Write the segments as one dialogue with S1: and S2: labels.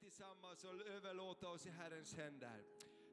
S1: tillsammans och överlåta oss i Herrens händer.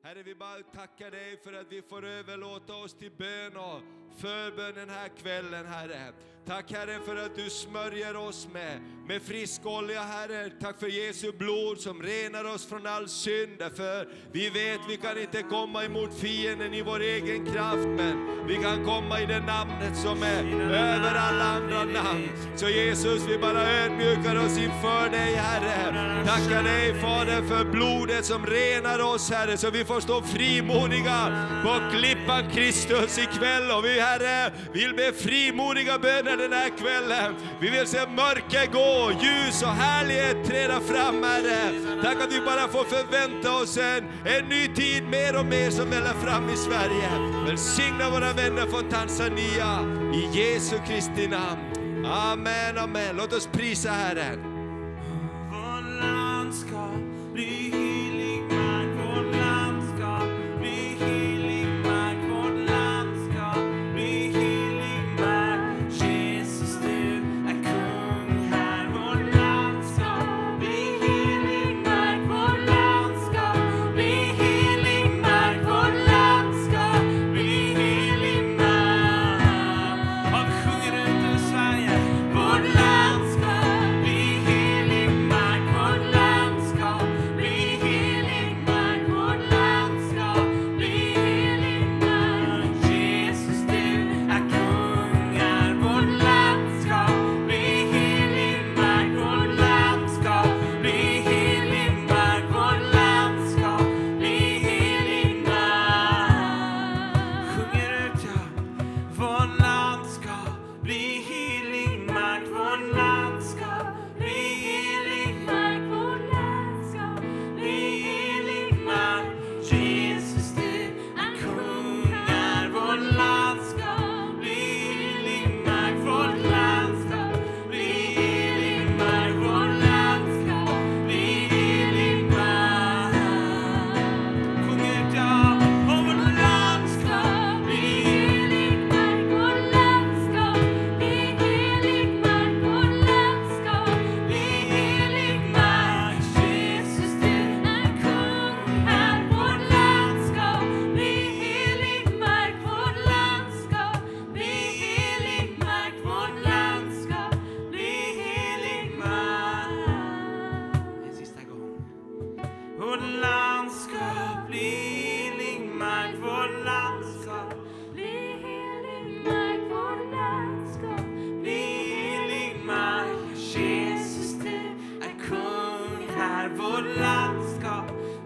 S1: Herre, vi bara tackar dig för att vi får överlåta oss till bön och förbön den här kvällen, Herre. Tack Herre för att du smörjer oss med, med frisk olja, Herre. Tack för Jesu blod som renar oss från all synd. För vi vet, vi kan inte komma emot fienden i vår egen kraft, men vi kan komma i det namnet som är över alla andra namn. Så Jesus, vi bara ödmjukar oss inför dig, Herre. Tackar dig, Fader, för blodet som renar oss, Herre, så vi får stå frimodiga på klippan Kristus ikväll. Och vi, Herre, vill be frimodiga böner den här kvällen. Vi vill se mörker gå, ljus och härlighet träda fram, Herre. Tack att vi bara får förvänta oss en, en ny tid mer och mer som väller fram i Sverige. Välsigna våra vänner från Tanzania, i Jesu Kristi namn. Amen, amen. Låt oss prisa Herren.
S2: Vårt land ska bli helig mark, vårt land ska bli helig mark, vårt land ska bli helig mark. Jesus, du är kung här. Vårt land ska bli helig mark, vårt land ska bli helig mark, vårt land ska bli helig mark. Ja, vi sjunger ut över Sverige. Vårt land ska bli helig mark, vårt land ska bli helig mark, vårt land ska bli helig mark. Jesus, du är kung här. Vårt land ska bli helig mark, vårt land ska bli helig mark, vårt land ska bli helig mark. Sjunger ut, ja. Vårt land ska bli helig mark, vårt land ska bli helig mark, vårt land ska bli helig mark. Jesus, du är kung här, vårt land ska bli helig mark, vårt land ska bli helig mark, vårt land ska bli helig mark. Sjung ut, ja. Och vårt land ska bli helig mark, vårt land ska bli helig mark, vårt land ska bli helig mark. Jesus, du är kung här. Vårt land ska bli helig mark, vårt land ska bli helig mark, vårt land ska bli helig mark. En sista gång. Vårt land ska bli helig mark, vårt land ska bli helig mark, vårt land ska bli helig mark. Jesus, du är kung här, vårt land ska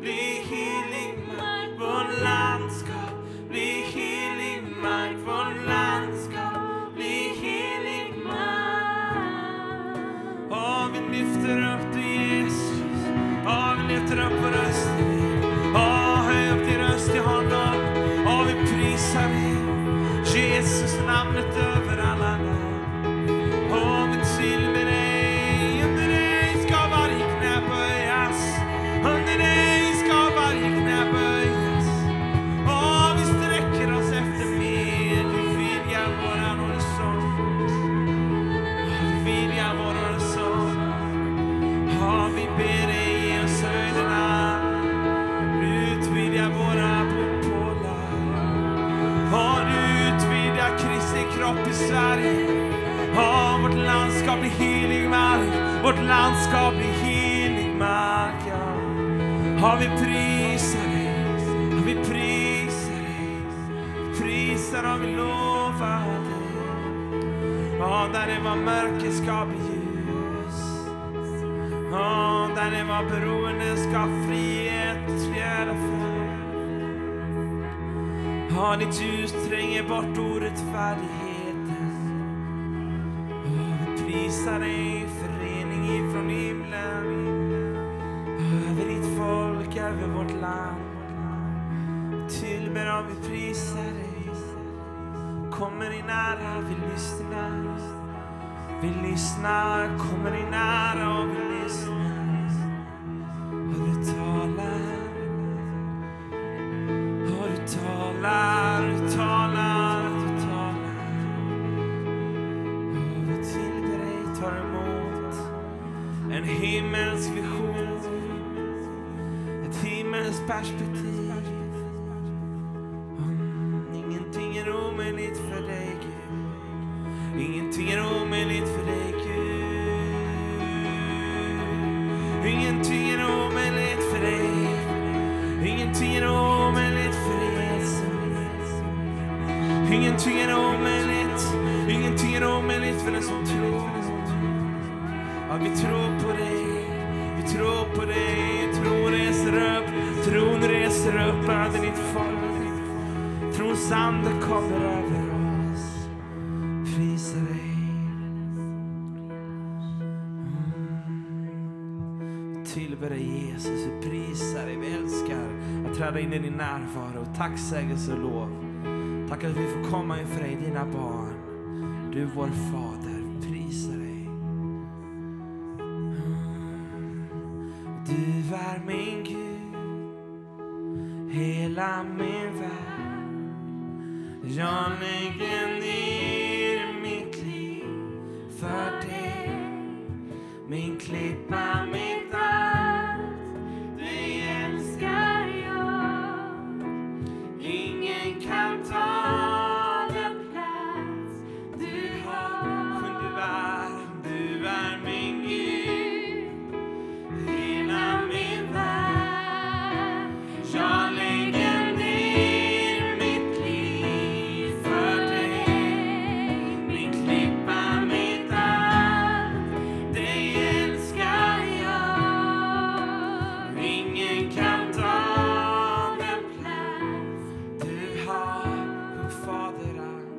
S2: bli helig mark, vårt land ska bli helig mark, vårt land ska bli helig mark. Ja, vi lyfter upp dig Jesus. Ja, vi lyfter upp vår röst till dig. Ja, höj upp din röst till honom. Ja, vi prisar dig. Jesus, namnet över alla namn. Ja, vi tillber dig. Under dig ska varje knä böjas. Under dig ska varje knä böjas. Ja, vi sträcker oss efter mer. Vi vidgar våran horisont. Vi vidgar vår horisont. Ja, vi ber dig ge oss höjderna. Utvidga våra portpålar. Ja, du utvidgar Kristi kropp i Sverige. Ja, vårt land ska bli helig mark. Vårt land ska bli helig mark, ja. Ja, vi prisar dig. Ja, vi prisar dig. Prisar och vi lovar dig. Ja, där det var mörker ska bli ljus. Ja, där det var beroende ska frihet fjära fram. Ja, ditt ljus tränger bort orättfärdigheten. Ja, vi prisar dig, förening ifrån himlen. Över ditt folk, över vårt land. Tillber om vi prisar dig. Kommer i nära, vi lyssnar. Vi lyssnar, kommer in nära och vi lyssnar. Och du talar. Och du talar, du talar, du talar. Och vi tillber dig, tar emot en himmelsk vision.
S3: Faderns perspektiv. Mm, Ingenting är omöjligt för dig, Gud. Ingenting är omöjligt för dig, Gud. Ingenting är omöjligt för dig. Ingenting är omöjligt för dig, Jesus. Ingenting är omöjligt. Ingenting är omöjligt för den som tror. Ja, vi tror på dig. Vi tror på dig. Tron reser upp. Tron reser upp över ditt folk. Trons ande kommer över oss. Prisa dig. Mm. Tillber dig Jesus, vi prisar dig, vi älskar att träda in i din närvaro. Tack, sägelse och lov. Tack att vi får komma inför dig, dina barn. Du vår fader, vi prisar dig. Du är min Gud, hela min värld. Jag lägger ner mitt liv för dig. Min klippa, mitt allt, dig älskar jag. Ingen kan ta den plats du har. Men du är, du är min Gud, hela min värld. Jag lägger ner mitt liv för dig. Min klippa, mitt allt, dig älskar jag. Ingen kan ta den plats du har en fader allt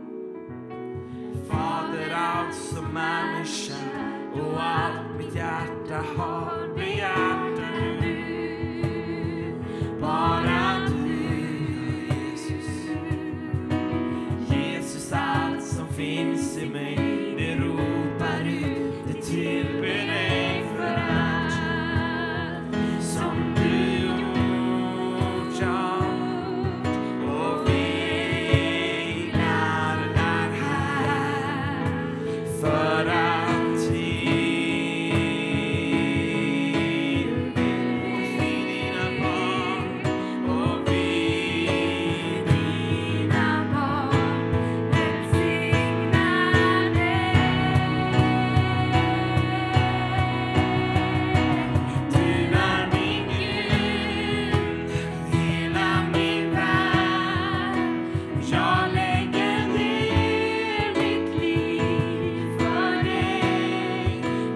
S3: Fader allt som är min själ och allt mitt hjärta har begärt Bara du, Jesus Jesus, allt som finns i mig det ropar ut, det tillber dig för allt som du gjort, ja och vilar där här för att ge oss i dina barn och vid dina barn välsignar dig. Du är min Gud, hela min värld. Jag lägger ner mitt liv för dig.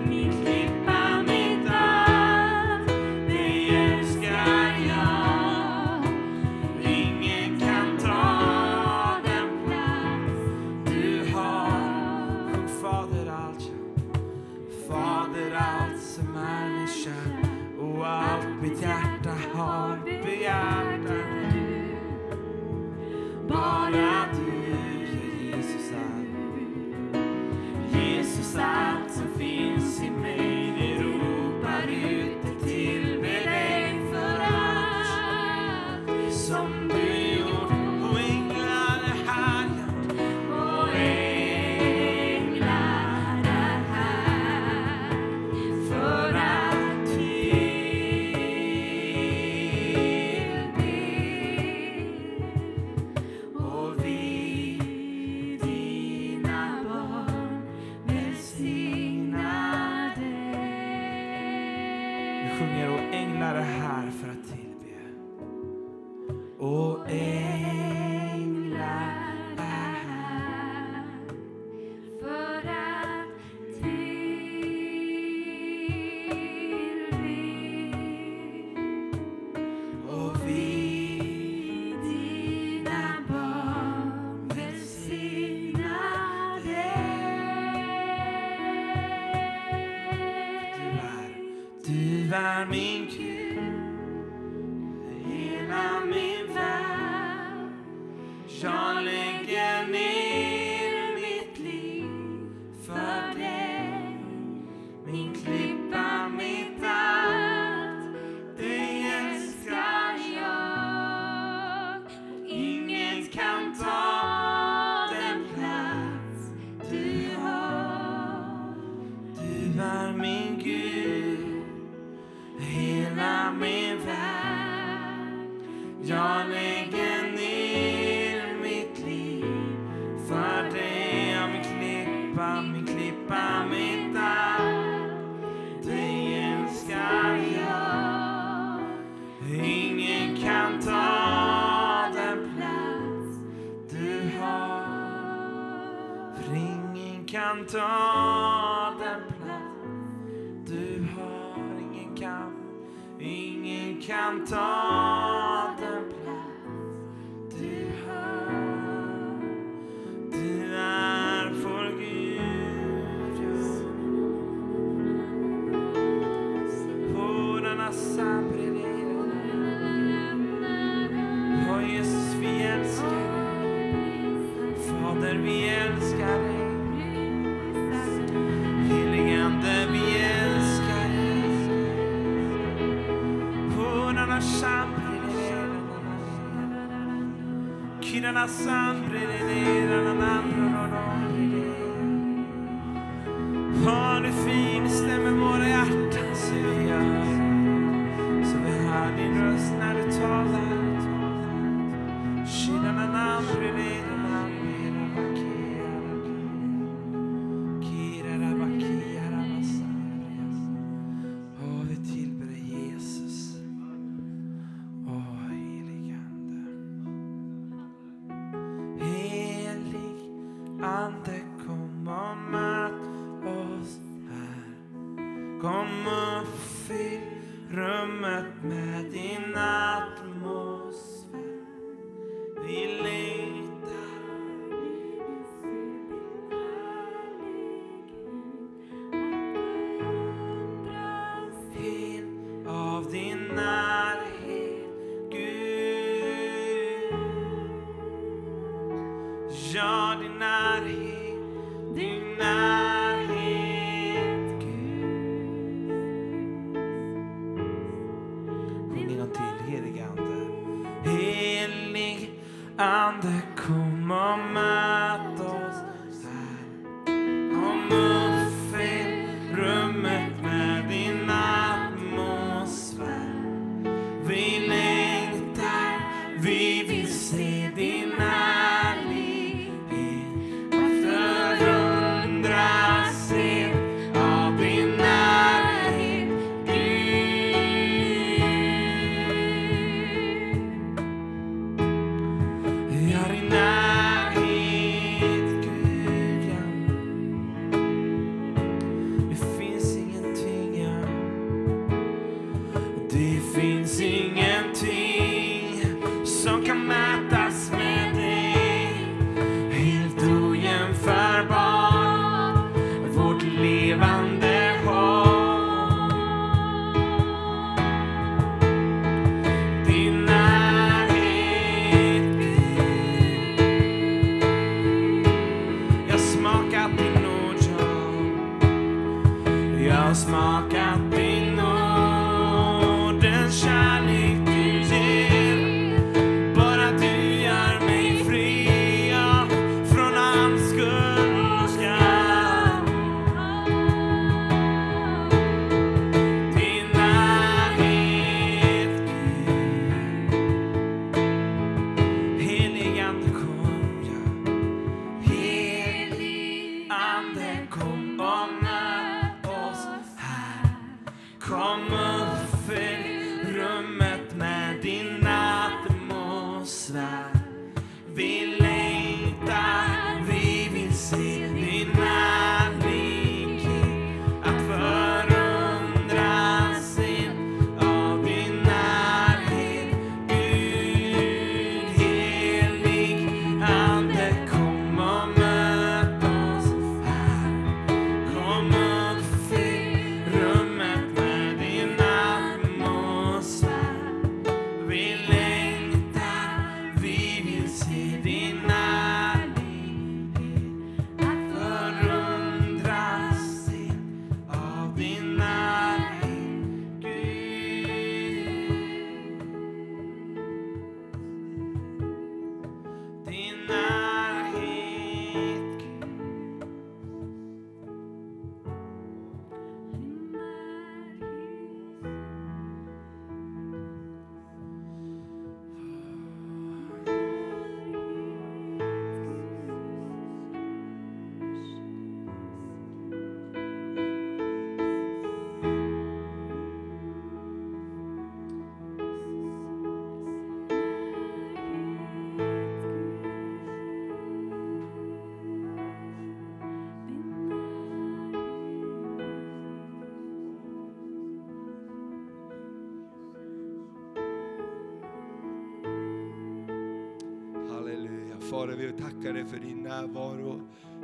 S3: Min klippa, mitt allt, dig älskar jag. Ingen kan ta den plats du har. Sjung Fader allt jag, Fader allt som är min kär och allt mitt hjärta har begärt är du. Bara du, ja, Jesus är. Jesus allt som finns i mig, det ropar ut det till med dig för allt som du gjort och änglar är här. Och änglar är här för att tillbe och vi dina barn välsignar dig. Vi sjunger och änglar är här för att tillbe. Och änglar är här för att tillbe. Och vi dina barn välsignar dig. Du är, du är min Gud, hela min värld. Jag lägger ner mitt liv för dig. Min klippa, mitt allt, dig älskar jag. Ingen kan ta den plats du har. Du är min Gud, hela min värld.
S2: kan ta den plats du har. Ingen kan, ingen kan ta den plats du har. Du är vår Gud. Vårarna sabrerar. Åh Jesus, vi älskar dig. Fader, vi älskar dig. Heligande, vi älskar dig. Hundarna sambrelelelelelele. Killarna sambrelelelelelelelelele. Hör du fin stämmer våra hjärtan så vi gör. Så vi hör din röst när du talar. Killarna namnbrelelelelelelele. Åh, vi tillber dig, Jesus. Åh, helig Ande. Helig Ande, kom och möt oss här. Kom och fyll rummet med din atmosfär. Vi längtar Hel av din närhet, Gud. Ja, din närhet, din närhet, Gud. Sjung innan till, helig ande. Helig ande, kom och möt oss här. Kom och fyll rummet med din atmosfär. Vi längtar, vi vill se din härlighet. Förundras helt av din närhet, Gud. Ja, din närhet, Gud, ja. Det finns ingenting ja. Det finns ingenting som kan mätas med dig Helt ojämförbar Vårt levande hopp Din närhet Gud. Jag smakat din ord, ja. Jag har smakat din nåd, den kärlek du
S1: Fader, vi tackar dig för din närvaro.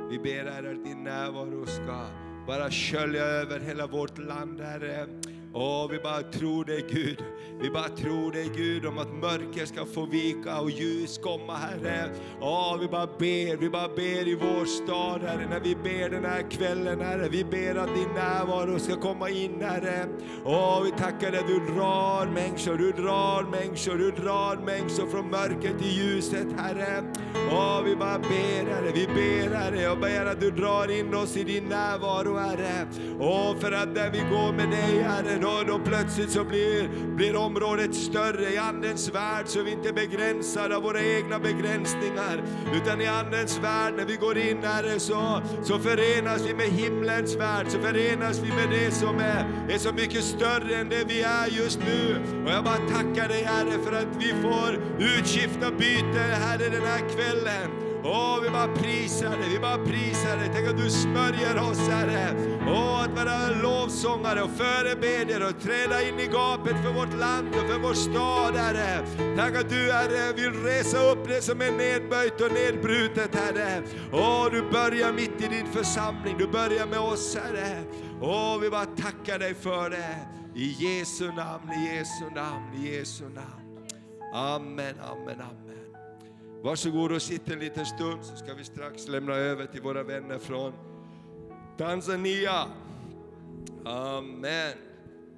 S1: Vi ber Herre att din närvaro ska bara skölja över hela vårt land Herre. Och vi bara tror dig Gud. Vi bara tror dig Gud om att mörker ska få vika och ljus komma Herre. Åh, vi bara ber, vi bara ber i vår stad Herre. När vi ber den här kvällen Herre. Vi ber att din närvaro ska komma in Herre. Åh, vi tackar dig, du drar människor, du drar människor, du drar människor från mörkret till ljuset Herre. Åh, vi bara ber Herre, vi ber Herre. Jag ber att du drar in oss i din närvaro Herre. Åh, för att när vi går med dig Herre, då, då plötsligt så blir, blir området större i Andens värld så vi inte är begränsade av våra egna begränsningar. Utan i Andens värld, när vi går in Herre, så, så förenas vi med himlens värld, så förenas vi med det som är, är så mycket större än det vi är just nu. Och jag bara tackar dig Herre för att vi får utskifta byte Herre den här kvällen. Åh, vi bara prisar dig, vi bara prisar dig. Tänk att du smörjer oss, Herre. Åh, att vara lovsångare och förebedjare och träda in i gapet för vårt land och för vår stad, Herre. Tack att du, Herre, vill resa upp det som är nedböjt och nedbrutet, Herre. Åh, du börjar mitt i din församling, du börjar med oss, Herre. Åh, vi bara tackar dig för det. I Jesu namn, i Jesu namn, i Jesu namn. Amen, amen, amen. Varsågod och sitt en liten stund så ska vi strax lämna över till våra vänner från Tanzania. Amen.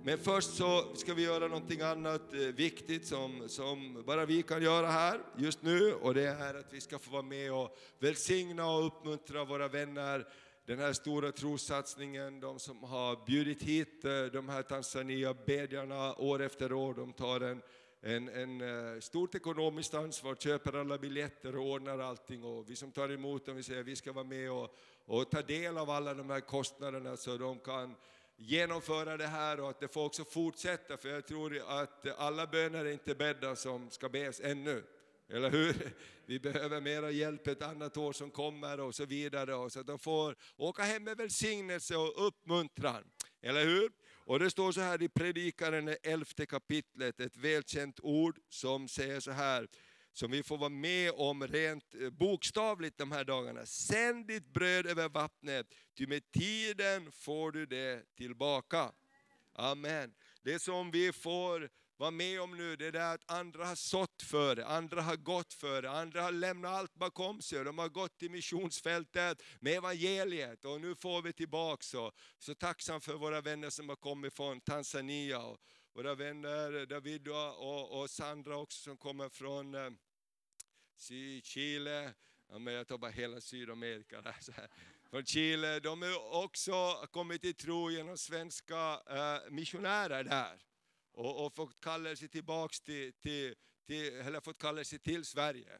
S1: Men först så ska vi göra någonting annat eh, viktigt som, som bara vi kan göra här just nu och det är att vi ska få vara med och välsigna och uppmuntra våra vänner den här stora trossatsningen, de som har bjudit hit eh, de här Tanzania-bedjarna år efter år, de tar en en, en eh, stort ekonomiskt ansvar, köper alla biljetter och ordnar allting. Och vi som tar emot dem, vi säger vi ska vara med och, och ta del av alla de här kostnaderna så de kan genomföra det här och att det får också fortsätta. För jag tror att alla böner är inte bädda som ska bes ännu. Eller hur? Vi behöver mera hjälp ett annat år som kommer och så vidare. Och så att de får åka hem med välsignelse och uppmuntran. Eller hur? Och det står så här i Predikaren, det elfte kapitlet, ett välkänt ord som säger så här, som vi får vara med om rent eh, bokstavligt de här dagarna. Sänd ditt bröd över vattnet, ty med tiden får du det tillbaka. Amen. Det som vi får vara med om nu, det är det att andra har sått för det, andra har gått för det, andra har lämnat allt bakom sig. De har gått till missionsfältet med evangeliet och nu får vi tillbaka. Så, så tacksam för våra vänner som har kommit från Tanzania. Och våra vänner David och, och Sandra också som kommer från eh, Sy- Chile, ja, men jag tar bara hela Sydamerika där. Så här. Från Chile, de har också kommit till tro genom svenska eh, missionärer där. Och, och fått kallelse tillbaks till, till, till, eller fått kallelse till Sverige.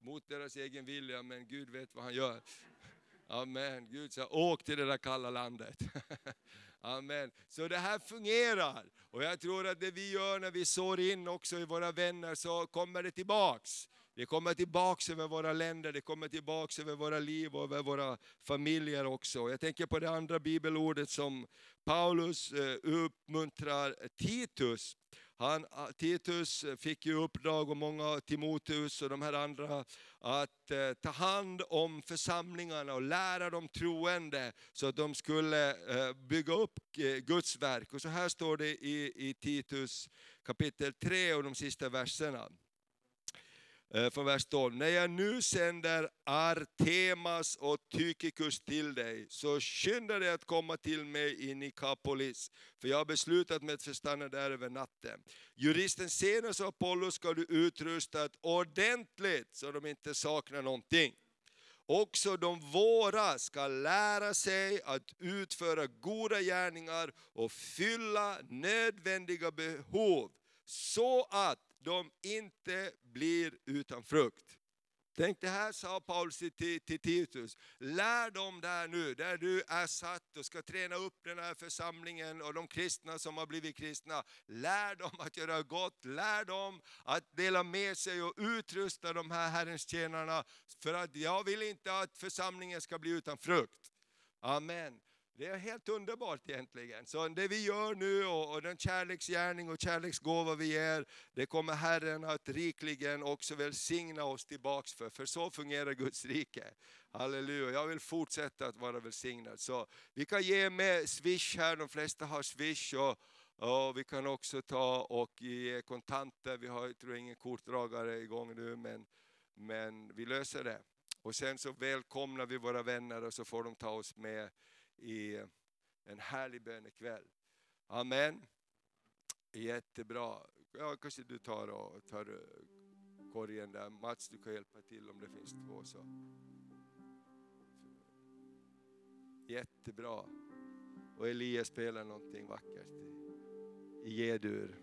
S1: Mot deras egen vilja, men Gud vet vad han gör. Amen. Gud sa, åk till det där kalla landet. Amen. Så det här fungerar. Och jag tror att det vi gör när vi sår in också i våra vänner så kommer det tillbaks. Det kommer tillbaks över våra länder, det kommer tillbaks över våra liv och över våra familjer också. Och Jag tänker på det andra bibelordet som Paulus eh, uppmuntrar Titus. Han, eh, Titus fick ju uppdrag, och många Timoteus och de här andra, att eh, ta hand om församlingarna och lära de troende så att de skulle eh, bygga upp eh, Guds verk. Och så här står det i, i Titus kapitel 3 och de sista verserna. Eh, Från vers 12. När jag nu sänder Artemas och Tykikus till dig, så skynda dig att komma till mig i Nikapolis, för jag har beslutat mig att förstanna där över natten. Juristen Zenos och Apollos ska du utrusta ordentligt, så de inte saknar någonting. Också de våra ska lära sig att utföra goda gärningar och fylla nödvändiga behov så att de inte blir utan frukt. Tänk det här sa Paulus till, till till Titus. Lär dem där nu, där du är satt och ska träna upp den här församlingen och de kristna som har blivit kristna. Lär dem att göra gott, lär dem att dela med sig och utrusta de här Herrens tjänarna. För att jag vill inte att församlingen ska bli utan frukt. Amen. Det är helt underbart egentligen. Så det vi gör nu och, och den kärleksgärning och kärleksgåva vi ger, det kommer Herren att rikligen också välsigna oss tillbaks för. För så fungerar Guds rike. Halleluja, jag vill fortsätta att vara välsignad. Så vi kan ge med Swish här, de flesta har Swish. Och, och vi kan också ta och ge kontanter, vi har tror jag, ingen kortdragare igång nu men, men vi löser det. Och sen så välkomnar vi våra vänner och så får de ta oss med i en härlig bönekväll. Amen. Jättebra. Ja, kanske du tar, och tar eh, korgen där. Mats, du kan hjälpa till om det finns två. Så. Jättebra. Och Elias spelar någonting vackert i G-dur.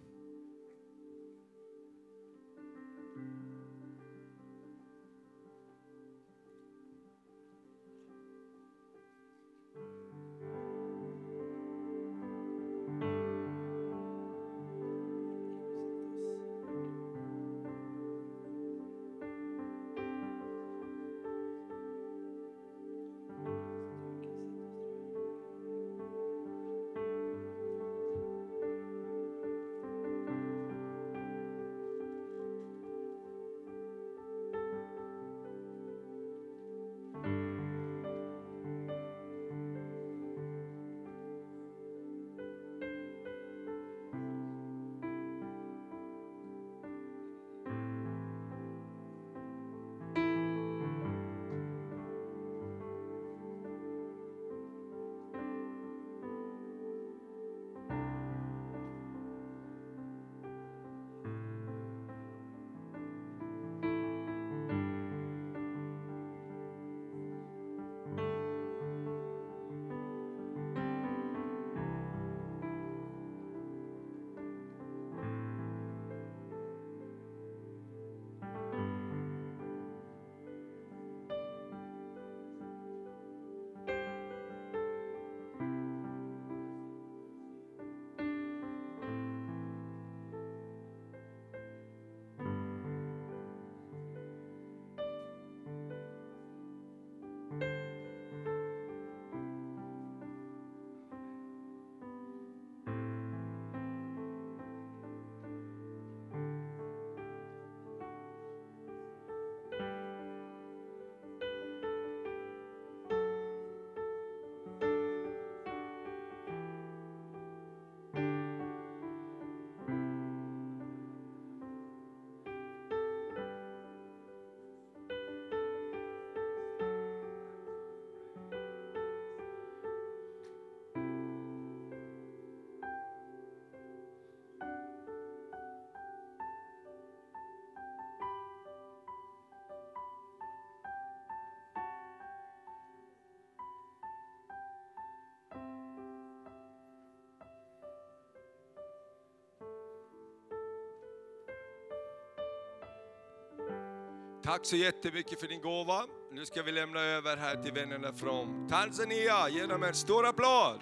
S1: Tack så jättemycket för din gåva. Nu ska vi lämna över här till vännerna från Tanzania. Ge dem en stor applåd!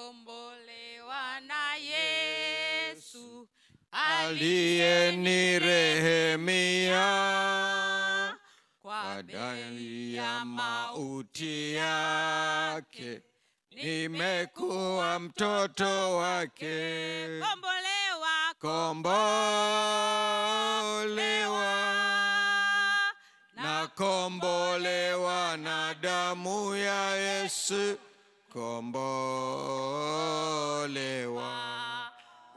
S4: Nimekombolewa na Yesu
S5: aliyenirehemia
S4: kwa
S5: badala
S4: bei
S5: ya
S4: ya
S5: mauti yake, nimekuwa mtoto wake,
S4: kombolewa
S5: kombolewa
S4: na
S5: nakombolewa na damu ya Yesu, kombolewa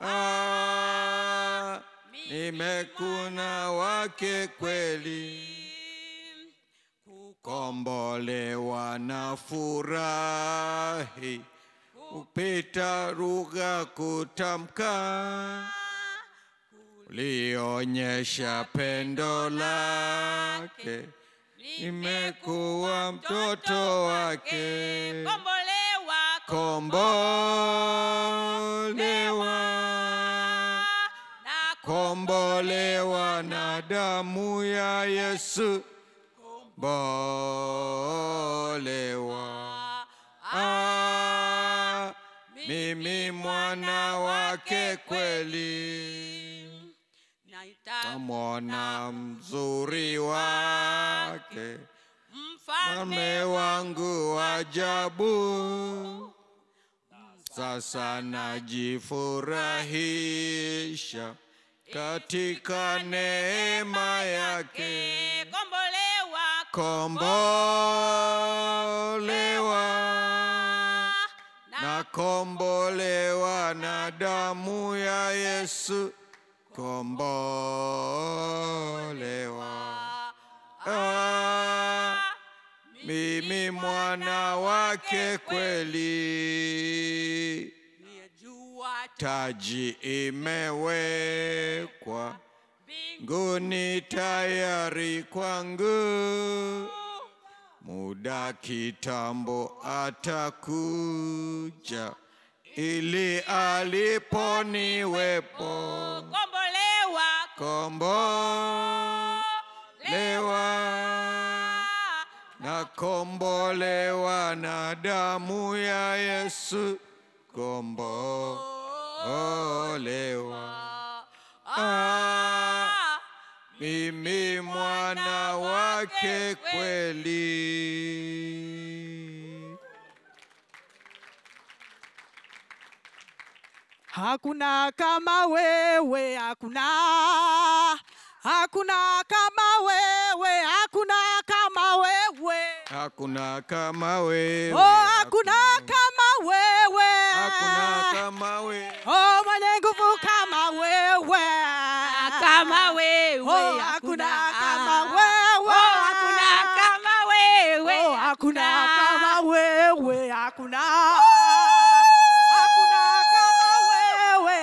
S5: ah, nimekuna wake kweli, kombolewa na furahi upita lugha kutamka ulionyesha pendo lake, nimekuwa mtoto wake,
S4: kombolewa
S6: na
S5: kombolewa kombolewa na damu ya Yesu, kombolewa ah, mimi mwana wake kweli, tamwona mzuri wake, mfalme wangu ajabu. Sasa najifurahisha katika neema yake,
S6: kombolewa
S5: kombolewa
S6: na
S5: nakombolewa na damu ya Yesu, kombolewa ah, mimi mwana wake kweli.
S6: Nimejua tu
S5: Taji imewekwa
S6: mbingu
S5: nguni tayari kwangu, muda kitambo atakuja ili aliponiwepo
S6: kombolewa
S5: kombolewa na kombolewa na damu ya Yesu kombolewa ah, mimi mwana wake kweli.
S7: Hakuna kama wewe, hakuna. Hakuna kama wewe, hakuna kama wewe.
S5: Hakuna kama wewe,
S7: Oh, hakuna kama wewe.
S5: hakuna kama wewe.
S7: Oh, mwenye nguvu kama wewe.
S6: kama wewe
S7: Ah, Oh, hakuna kama wewe.
S6: Oh, hakuna kama wewe
S7: ah. Oh, hakuna kama wewe, hakuna. Hakuna kama wewe,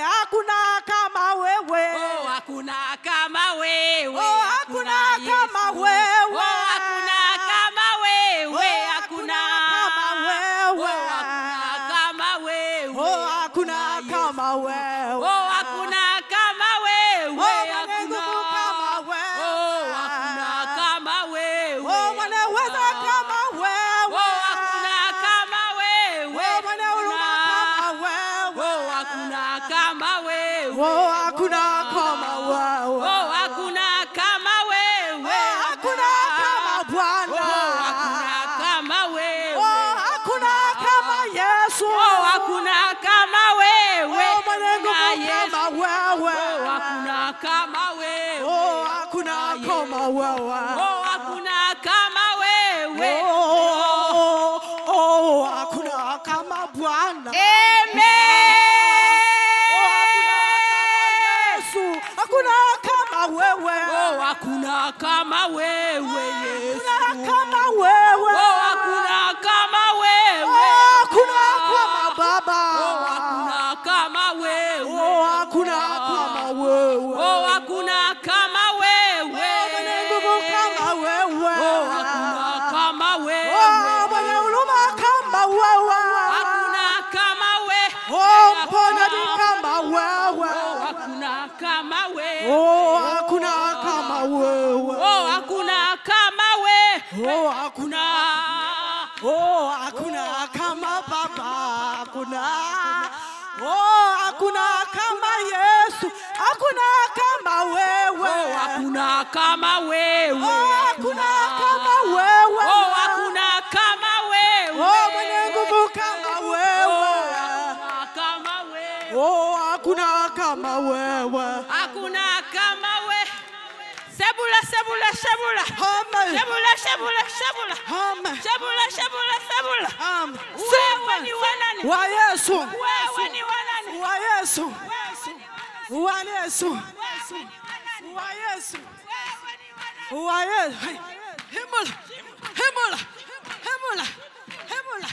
S7: hakuna kama wewe.
S6: Oh, hakuna kama wewe
S7: Oh, hakuna kama
S6: Yesu.
S7: wewe.
S6: Oh, hakuna kama wewe
S7: Oh,
S6: hakuna
S7: hakuna kama wewe.
S6: Oh, hakuna kama wewe
S7: Oh, hakuna
S6: Yesu.
S7: kama wewe.
S6: Oh, hakuna kama
S7: Oh, ah.
S6: wewe
S7: mwenye
S6: hakuna.
S7: nguvu kama wewe.
S6: Oh, hakuna kama wewe
S7: ah. Oh, mwanaweza kama
S6: Oh,
S7: wewe.
S6: hakuna kama wewe
S7: Oh, mwenye huruma kama wewe.
S6: Oh, hakuna kama wewe
S7: Oh, hakuna kama wewe.
S6: Oh, hakuna kama
S7: Oh,
S6: wewe
S7: hakuna kama
S6: Oh,
S7: Bwana.
S6: hakuna kama wewe
S7: Oh, hakuna kama Yesu.
S6: Oh, hakuna kama wewe
S7: Oh, mwenye nguvu
S6: Yesu.
S7: kama wewe.
S6: Oh, hakuna kama wewe
S7: Oh, hakuna kama wewe.
S6: Oh, hakuna kama wewe
S7: Oh, oh, hakuna kama Bwana.
S6: Eh! Amen.
S7: Oh, hakuna kama Yesu. Hakuna kama wewe.
S6: Oh, hakuna kama wewe Yesu.
S7: Hakuna kama wewe.
S6: Oh, hakuna kama wewe.
S7: Oh, hakuna kama Baba.
S6: Oh, hakuna kama wewe.
S7: Oh, hakuna kama wewe.
S6: Oh, hakuna kama
S7: Oh,
S6: wewe.
S7: mwenye nguvu kama wewe.
S6: Oh, hakuna kama wewe.
S7: Oh, mwenye huruma kama wewe.
S6: Hakuna kama wewe.
S7: Oh, mponyaji kama wewe.
S6: Oh, hakuna kama wewe.
S7: Oh, hakuna kama wewe.
S6: Oh, hakuna kama wewe.
S7: Oh, hakuna.
S6: Ah.
S7: Oh, hakuna kama Baba, hakuna. Oh, hakuna kama Yesu, hakuna kama
S6: Oh,
S7: wewe.
S6: hakuna kama wewe.
S7: Oh, hakuna kama wewe.
S6: Oh, hakuna kama wewe.
S7: Oh, mwenye nguvu kama wewe.
S6: Hakuna kama wewe.
S7: Oh, hakuna kama wewe.
S6: Hakuna kama wewe. Sebula, sebula, sebula.
S7: Amen.
S6: Sebula, sebula, sebula.
S7: Amen.
S6: Sebula, sebula, sebula.
S7: Amen.
S6: Wewe ni wa nani?
S7: Wa Yesu,
S6: Wewe ni wa nani?
S7: wa Yesu,
S6: Wewe ni wa
S7: wa
S6: nani?
S7: Yesu,
S6: Wewe ni wa nani?
S7: wa Yesu.
S6: Wewe ni wa nani?
S7: Why is Himula, Himula, Himula, Himula,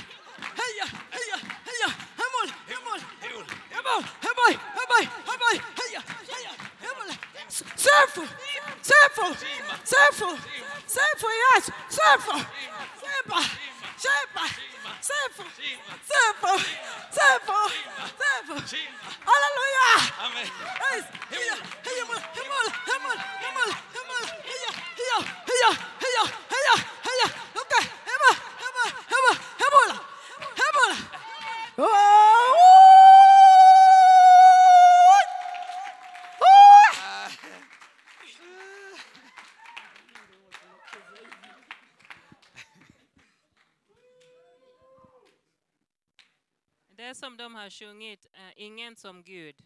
S7: Heya, Heya, Heya, Himula, Himula, Himula, Himula, Himula, Himula, Heya, Heya, Himula. Sinful, sinful, sinful, sinful, yes, sinful, sinful, sinful,
S6: Sefa. Sefa. Sefa. Sefa. Haleluya.
S2: Amen.
S6: Yes. Hiya. Hiya. Himmel. Himmel. Himmel. Himmel. Hiya. Hiya. Hiya. Hiya. Hiya. Hiya. Okay. Himmel. Himmel. Himmel. Himmel. Himmel. Oh. Oh.
S4: Det som de har sjungit är Ingen som Gud.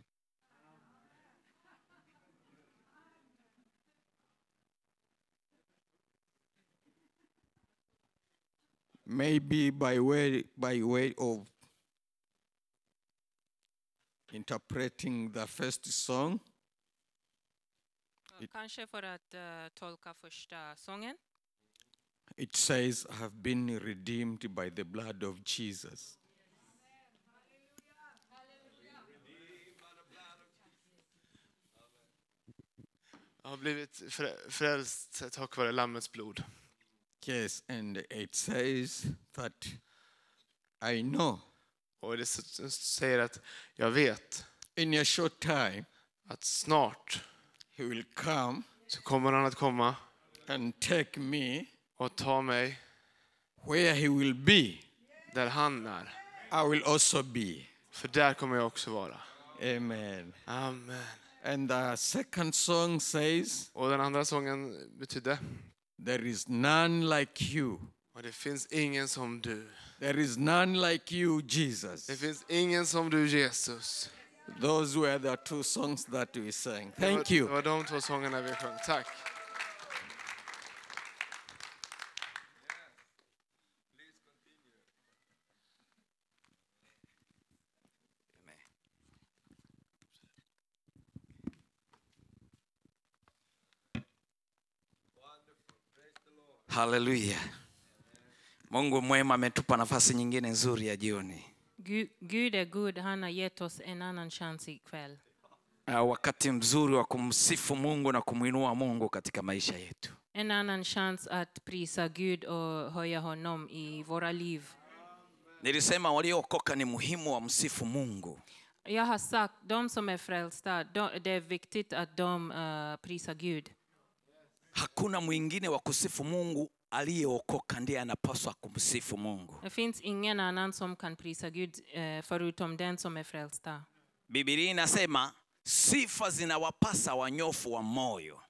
S5: Maybe by way, by way of interpreting the first song,
S4: Och Kanske för att eh, tolka första sången.
S5: it says, I have been redeemed by the blood of Jesus.
S8: Jag har blivit frä- frälst tack vare Lammets blod.
S5: Yes, and it says that I know
S8: Och det s- s- säger att jag vet
S5: in a short time
S8: att snart
S5: he will come
S8: så kommer han att komma
S5: and take me
S8: och ta mig
S5: where he will be.
S8: där han är.
S5: I will also be.
S8: För där kommer jag också vara.
S5: Amen.
S8: Amen.
S5: And the second song says,
S8: Och den andra sången betydde
S5: There is none like you.
S8: och det finns ingen som du.
S5: There is none like you,
S8: Det
S5: Jesus.
S8: finns ingen som du Jesus.
S5: Those were the two songs that we sang. Thank
S8: det var, Det
S5: you.
S8: var de två sångerna vi sjöng. Tack.
S9: Haleluya. Mungu mwema ametupa nafasi nyingine nzuri ya jioni.
S4: Gud, Gud är god, han har gett oss en annan chans ikväll.
S9: Uh, wakati mzuri wa kumsifu Mungu na kumwinua Mungu katika maisha yetu.
S4: En annan chans att prisa Gud och höja honom i våra liv.
S9: Nilisema waliookoka ni muhimu wamsifu Mungu.
S4: Jag har sagt, de som är frälsta, de, det är viktigt att de eh, prisar Gud.
S9: Hakuna mwingine wa kusifu Mungu aliyeokoka ndiye anapaswa kumsifu Mungu.
S4: Det finns ingen annan som kan prisa Gud eh, förutom den som är frälsta.
S9: Biblia inasema sifa zinawapasa wanyofu wa moyo.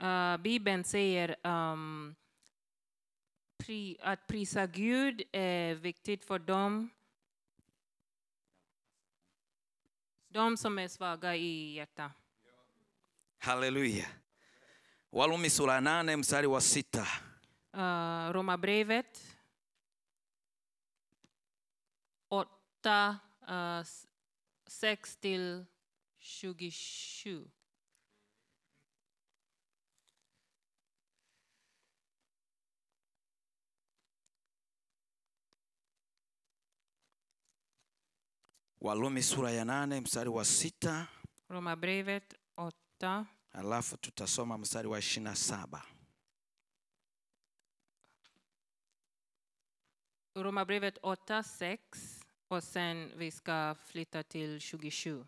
S4: Eh, Bibeln säger ehm, pri, att prisa Gud är viktigt för dem de som är svaga i hjärtat.
S9: Haleluya. Walumi sura nane mstari wa sita.
S4: Uh, Romarbrevet 8, uh, 6 till 27.
S9: Walumi sura ya nane mstari wa sita
S4: Romarbrevet 8,
S9: alafu tutasoma mstari wa ishirini na saba
S4: Romarbrevet 8, 6 och sen vi ska flytta till 27.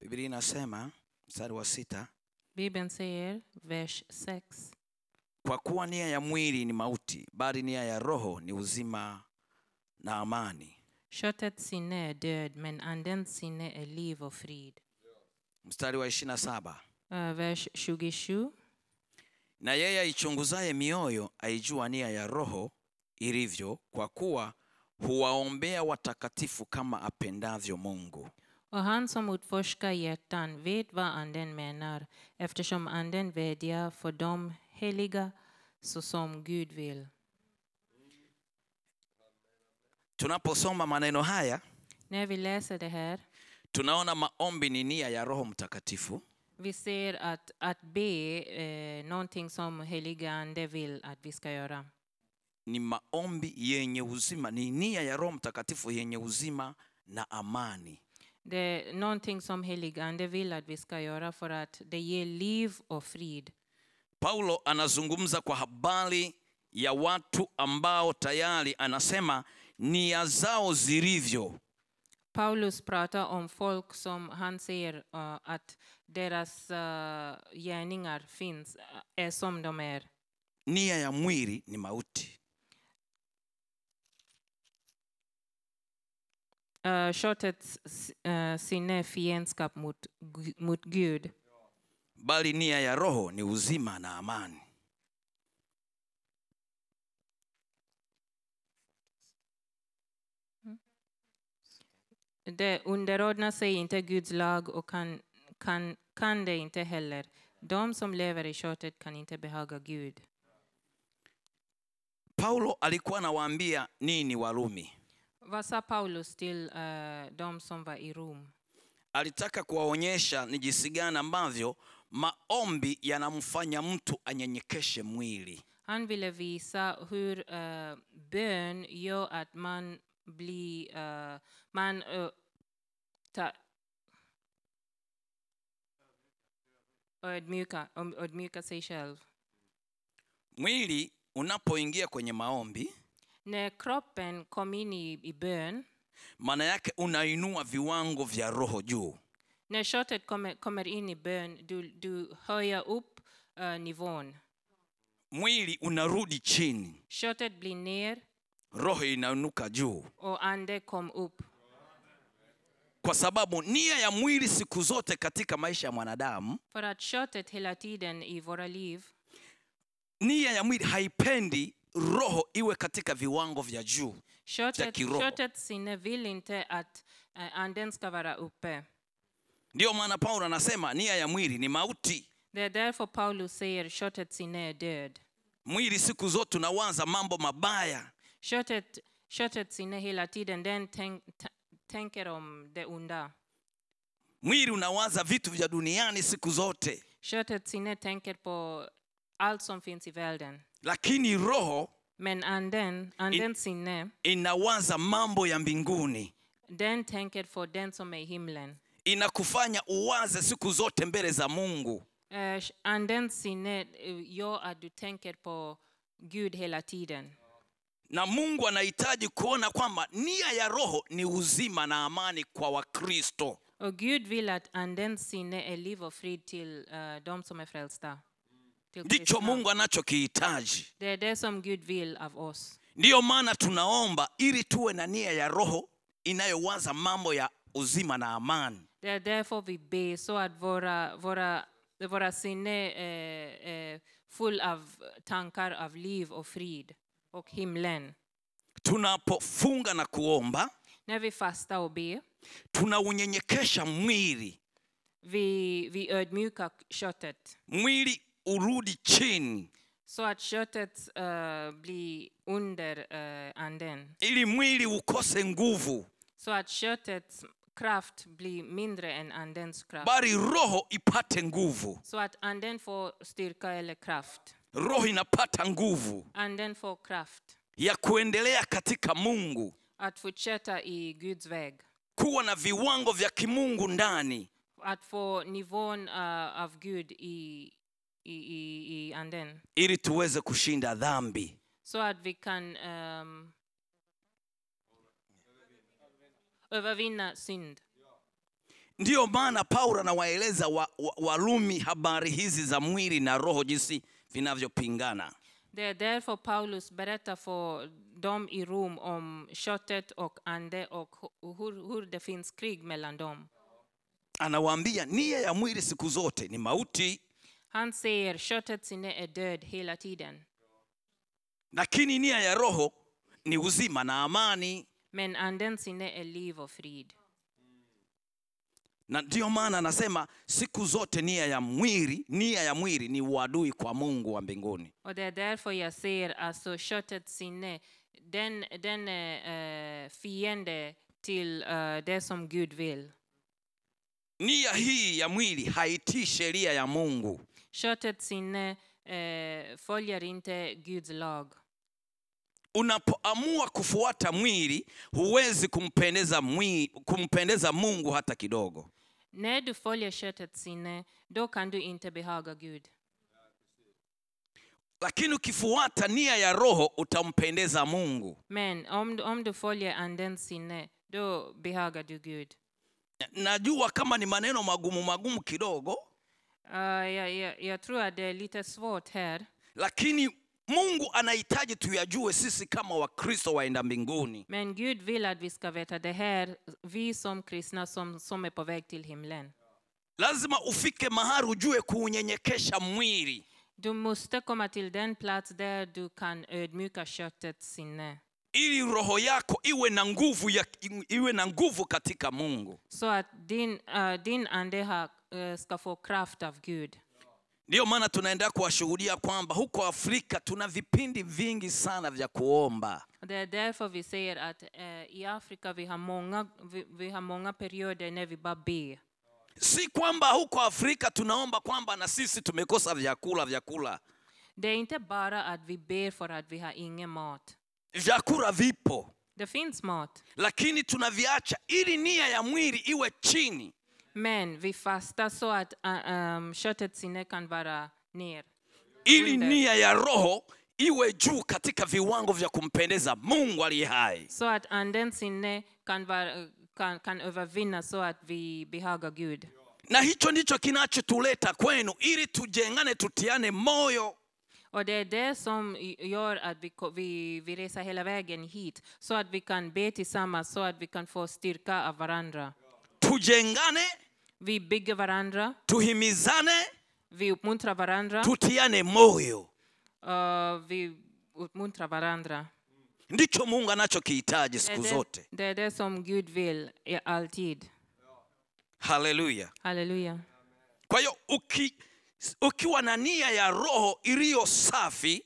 S9: Biblia inasema mstari wa sita,
S4: Bibeln säger, vers 6.
S9: kwa kuwa nia ya mwili ni mauti, bali nia ya roho ni uzima na amani.
S4: Köttets sinne är död, men andens sinne är liv och frid.
S9: Mstari wa ishirini na saba
S4: Uh, vers 27.
S9: na yeye aichunguzaye mioyo aijua nia ya roho ilivyo, kwa kuwa huwaombea watakatifu kama apendavyo Mungu.
S4: Och han som utforskar hjärtan vet vad anden menar, eftersom anden vädjar för de heliga så som Gud vill.
S9: Tunaposoma maneno haya
S4: När vi läser det här
S9: tunaona maombi ni nia ya Roho Mtakatifu,
S4: Vi ser att, att be eh, någonting som heliga ande vill att vi ska göra.
S9: ni maombi yenye uzima ni nia ya roho mtakatifu yenye uzima na amani
S4: Det är någonting som helig ande vill att vi ska göra för att det ger liv och frid.
S9: paulo anazungumza kwa habari ya watu ambao tayari anasema nia zao zilivyo
S4: Paulus pratar om folk som han säger eh, att deras eh, gärningar finns, eh, är som de är.
S9: nia ya mwili ni mauti
S4: Uh, köttets eh, sinne är fiendskap mot, Gu- mot Gud.
S9: bali nia ya roho ni uzima na amani
S4: Det underordnar sig inte Guds lag och kan, kan, kan det inte heller. De som lever i köttet kan inte behaga Gud.
S9: paulo alikuwa anawaambia nini warumi
S4: Vad sa Paulus till eh, de som var i Rom?
S9: alitaka kuwaonyesha ni jinsi gani ambavyo maombi yanamfanya mtu anyenyekeshe mwili
S4: Han ville visa hur eh, bön gör att man blir... eh, man, eh, ta, ödmjuka, om- ödmjuka sig själv.
S9: mwili unapoingia kwenye maombi
S4: När kroppen kom in i, i bön,
S9: maana yake unainua viwango vya roho juu
S4: när köttet kommer, kommer in i bön, du, du höjer upp eh, nivån.
S9: mwili unarudi chini
S4: Köttet blir ner
S9: roho inainuka juu
S4: och ande kom upp.
S9: kwa sababu nia ya mwili siku zote katika maisha ya mwanadamu
S4: För att köttet hela tiden i våra liv,
S9: nia ya mwili haipendi roho iwe katika viwango vya juu
S4: köttet,
S9: kiroho.
S4: köttets sinne vill inte att eh, anden ska vara uppe.
S9: ndiyo maana paulo anasema nia ya mwili ni mauti
S4: Det är därför Paulus säger köttets sinne är död.
S9: mwili siku zote tunawaza mambo mabaya
S4: Köttet, köttets sinne hela tiden, den tänk, t- tänker om det onda.
S9: mwili unawaza vitu vya duniani siku zote
S4: Köttets sinne tänker på allt som finns i världen.
S9: lakini roho
S4: Men anden, andens sinne,
S9: inawaza mambo ya mbinguni
S4: den tänker på den som är i himlen.
S9: inakufanya uwaze siku zote mbele za mungu
S4: Eh, andens sinne eh, gör att du tänker på Gud hela tiden.
S9: na mungu anahitaji kuona kwamba nia ya roho ni uzima na amani kwa wakristo
S4: Och Gud vill att andens sinne är liv och frid till eh, de som är frälsta. Till
S9: ndicho
S4: kristna.
S9: mungu anachokihitaji
S4: Det är det som Gud vill av oss.
S9: ndiyo maana tunaomba ili tuwe na nia ya roho inayowaza mambo ya uzima na amani
S4: Det är därför vi ber så att våra, våra, våra sinne eh, är full av tankar av liv och frid och himlen.
S9: tunapofunga na kuomba
S4: När vi fastar och ber,
S9: tunaunyenyekesha mwili
S4: vi, vi ödmjukar köttet
S9: mwili urudi chini
S4: så att köttet eh, blir under eh, anden.
S9: ili mwili ukose nguvu
S4: Så att köttets kraft blir mindre än andens kraft.
S9: bali roho ipate nguvu
S4: Så att anden får styrka eller kraft.
S9: roho inapata nguvu
S4: Anden får kraft
S9: ya kuendelea katika mungu
S4: att fortsätta i Guds väg.
S9: kuwa na viwango vya kimungu ndani
S4: Att få nivån eh, av Gud i, i, i, i anden.
S9: ili tuweze kushinda dhambi
S4: Så att vi kan ehm, övervinna synd.
S9: ndiyo maana paulo anawaeleza wa, wa, walumi habari hizi za mwili na roho jinsi vinavyopingana
S4: Det är därför Paulus berättar för dem i Rom om köttet och ande och hu- hur, hur det finns krig mellan dem.
S9: anawaambia nia ya mwili siku zote ni mauti
S4: Han säger köttets sinne är död hela tiden.
S9: lakini nia ya roho ni uzima na amani
S4: Men andens sinne är liv och frid.
S9: na ndiyo maana anasema siku zote nia ya mwili nia ya mwili ni uadui kwa mungu wa mbinguni
S4: Och det är därför jag ser alltså köttets sinne, den, den eh, är eh, fiende till eh, det som Gud vill.
S9: nia hii ya mwili haitii sheria ya mungu
S4: Köttets sinne eh, följer inte Guds lag.
S9: unapoamua kufuata mwili huwezi kumpendeza, mwi, kumpendeza mungu hata kidogo
S4: När du följer köttets sinne, då kan du inte behaga Gud.
S9: lakini ukifuata nia ya roho utampendeza mungu
S4: Men om, du- om du följer andens sinne, då behagar du Gud.
S9: najua kama ni maneno magumu magumu kidogo
S4: Uh, jag, jag, jag tror att det är lite svårt här.
S9: lakini mungu anahitaji tuyajue sisi kama wakristo waenda mbinguni
S4: Men Gud vill att vi ska veta det här, vi som kristna som, som är på väg till himlen.
S9: lazima ufike mahali ujue kuunyenyekesha mwili
S4: Du måste komma till den plats där du kan ödmjuka köttets sinne.
S9: ili roho yako iwe na nguvu ya, iwe na nguvu katika mungu
S4: Så att din, eh, din ande har, eh, ska få kraft av Gud.
S9: ndiyo maana tunaendelea kuwashuhudia kwamba huko afrika tuna vipindi vingi sana vya kuomba
S4: Och Det är därför vi säger att eh, i Afrika vi har, många, vi, vi har många perioder när vi bara ber.
S9: si kwamba huko afrika tunaomba kwamba na sisi tumekosa vyakula vyakula
S4: Det är inte bara att vi ber för att vi har ingen mat.
S9: vyakula vipo
S4: Det finns mat,
S9: lakini tunaviacha ili nia ya mwili iwe chini
S4: men vi fastar så att eh, ehm, köttets sinne kan vara ner.
S9: ili
S4: Ndio.
S9: nia ya roho iwe juu katika viwango vya kumpendeza mungu aliye hai
S4: Så att andens sinne kan, vara, kan, kan övervinna så att vi behagar Gud.
S9: na hicho ndicho kinachotuleta kwenu ili tujengane tutiane moyo
S4: Och det är det som i- gör att vi, ko- vi, vi reser hela vägen hit, så att vi kan be tillsammans, så att vi kan få styrka av varandra.
S9: tujengane
S4: Vi bygger varandra,
S9: tuhimizane
S4: vi uppmuntrar varandra,
S9: tutiane moyo
S4: och vi uppmuntrar varandra.
S9: ndicho mungu anachokihitaji
S4: Det är
S9: siku
S4: det,
S9: zote
S4: det är det som Gud vill i alltid.
S9: haleluya
S4: Halleluja.
S9: kwa hiyo uki, ukiwa na nia ya roho iliyo safi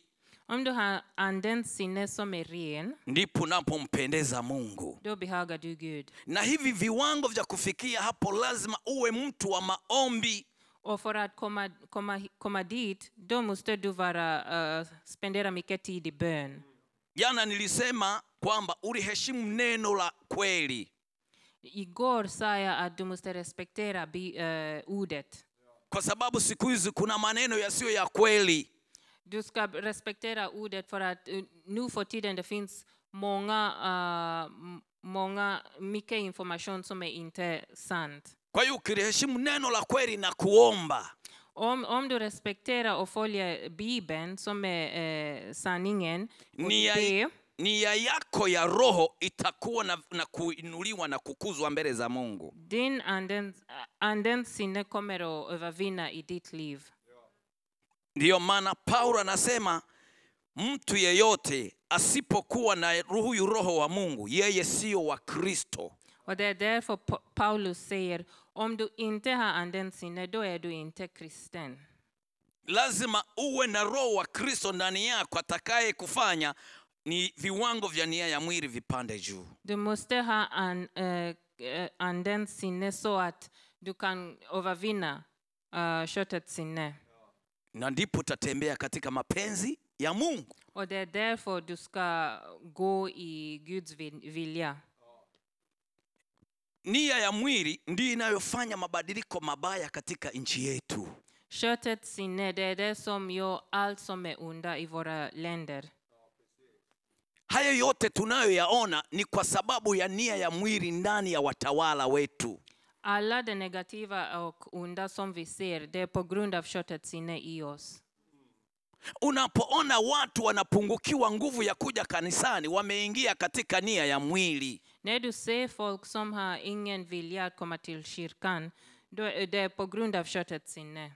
S4: Om du har andens sinne som är ren,
S9: ndipo unapompendeza mungu
S4: då behagar du Gud.
S9: na hivi viwango vya kufikia hapo lazima uwe mtu wa maombi
S4: Och för att komma, komma, komma dit, då måste du vara, eh, spendera mycket tid i bön.
S9: jana nilisema kwamba uliheshimu neno la kweli
S4: Igår sa jag att du måste respektera bi, eh, ordet.
S9: kwa sababu siku hizi kuna maneno yasiyo ya kweli
S4: Du ska respektera ordet för att eh, nu för tiden det finns många, eh, m- många, mycket information som är inte sant.
S9: kwa hiyo ukiliheshimu neno la kweli na kuomba
S4: Om, om du respekterar och följer Bibeln som är eh, sanningen, och
S9: nia,
S4: be,
S9: nia yako ya roho itakuwa na, na kuinuliwa na kukuzwa mbele za mungu
S4: din andens, andens sinne kommer att övervinna i ditt liv.
S9: ndiyo maana paulo anasema mtu yeyote asipokuwa na huyu roho wa mungu yeye siyo wa kristo
S4: Och det är därför Pa- Paulus säger, om du inte har andens sinne, då är du inte kristen.
S9: lazima uwe na roho wa kristo ndani yako atakaye kufanya ni viwango vya nia ya mwili vipande juu
S4: Du måste ha an, eh, eh, andens sinne så att du kan övervinna eh, köttets sinne.
S9: na ndipo utatembea katika mapenzi ya mungu
S4: Och det är därför du ska gå i Guds vil- vilja.
S9: nia ya mwili ndiyo inayofanya mabadiliko mabaya katika nchi yetu
S4: Köttets sinne, det är det som gör allt som är onda i våra länder.
S9: haya yote tunayoyaona ni kwa sababu ya nia ya mwili ndani ya watawala wetu
S4: Alla det negativa och onda som vi ser, det är på grund av köttets sinne i oss.
S9: unapoona watu wanapungukiwa nguvu ya kuja kanisani wameingia katika nia ya mwili
S4: När du ser folk som har ingen vilja att komma till kyrkan, då är det på grund av köttets sinne.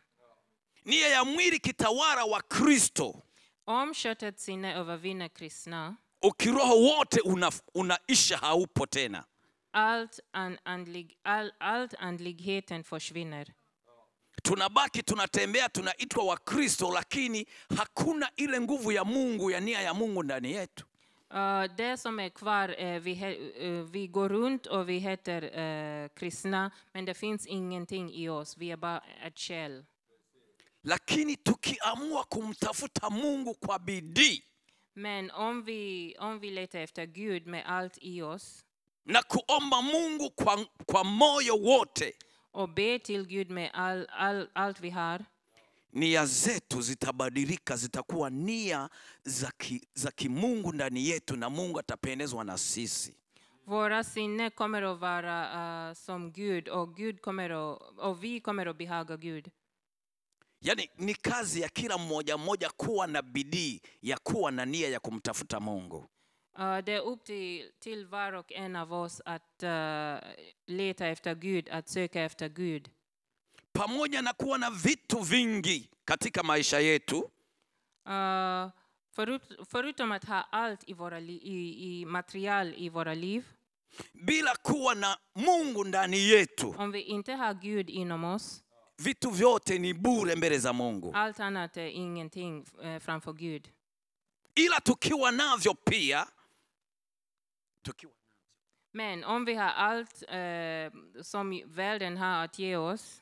S9: nia ya mwili kitawala wa kristo
S4: Om köttets sinne övervinner kristna,
S9: ukiroho wote una, unaisha haupo tena
S4: allt, an, andlig, all, allt andligheten försvinner.
S9: tunabaki tunatembea tunaitwa wakristo lakini hakuna ile nguvu ya mungu ya nia ya mungu ndani yetu
S4: Eh, det som är kvar, eh, vi, he- eh, vi går runt och vi heter eh, kristna, men det finns ingenting i oss. Vi är bara ett shell.
S9: lakini tukiamua kumtafuta mungu kwa bidii
S4: Men om vi, om vi letar efter Gud med allt i oss
S9: na kuomba mungu kwa, kwa moyo wote
S4: och ber till Gud med all, all, allt vi har,
S9: nia zetu zitabadilika zitakuwa nia za, ki, za kimungu ndani yetu na mungu atapendezwa na sisi
S4: våra sinne kommer att vara eh, som Gud och, Gud kommer att, och vi kommer att behaga Gud.
S9: yaani ni kazi ya kila mmoja mmoja kuwa na bidii ya kuwa na nia ya kumtafuta mungu
S4: Eh, det är upp till, till var och en av oss att eh, leta efter Gud, att söka efter Gud.
S9: pamoja na kuwa na vitu vingi katika maisha yetu
S4: Eh, förut, förutom att ha allt i, våra li, i, i material i våra liv,
S9: bila kuwa na mungu ndani yetu
S4: om vi inte har Gud inom oss,
S9: vitu vyote ni bure mbele za mungu
S4: allt annat är ingenting eh, framför Gud.
S9: ila tukiwa navyo pia tukiwa
S4: Men om vi har allt eh, som världen har att ge oss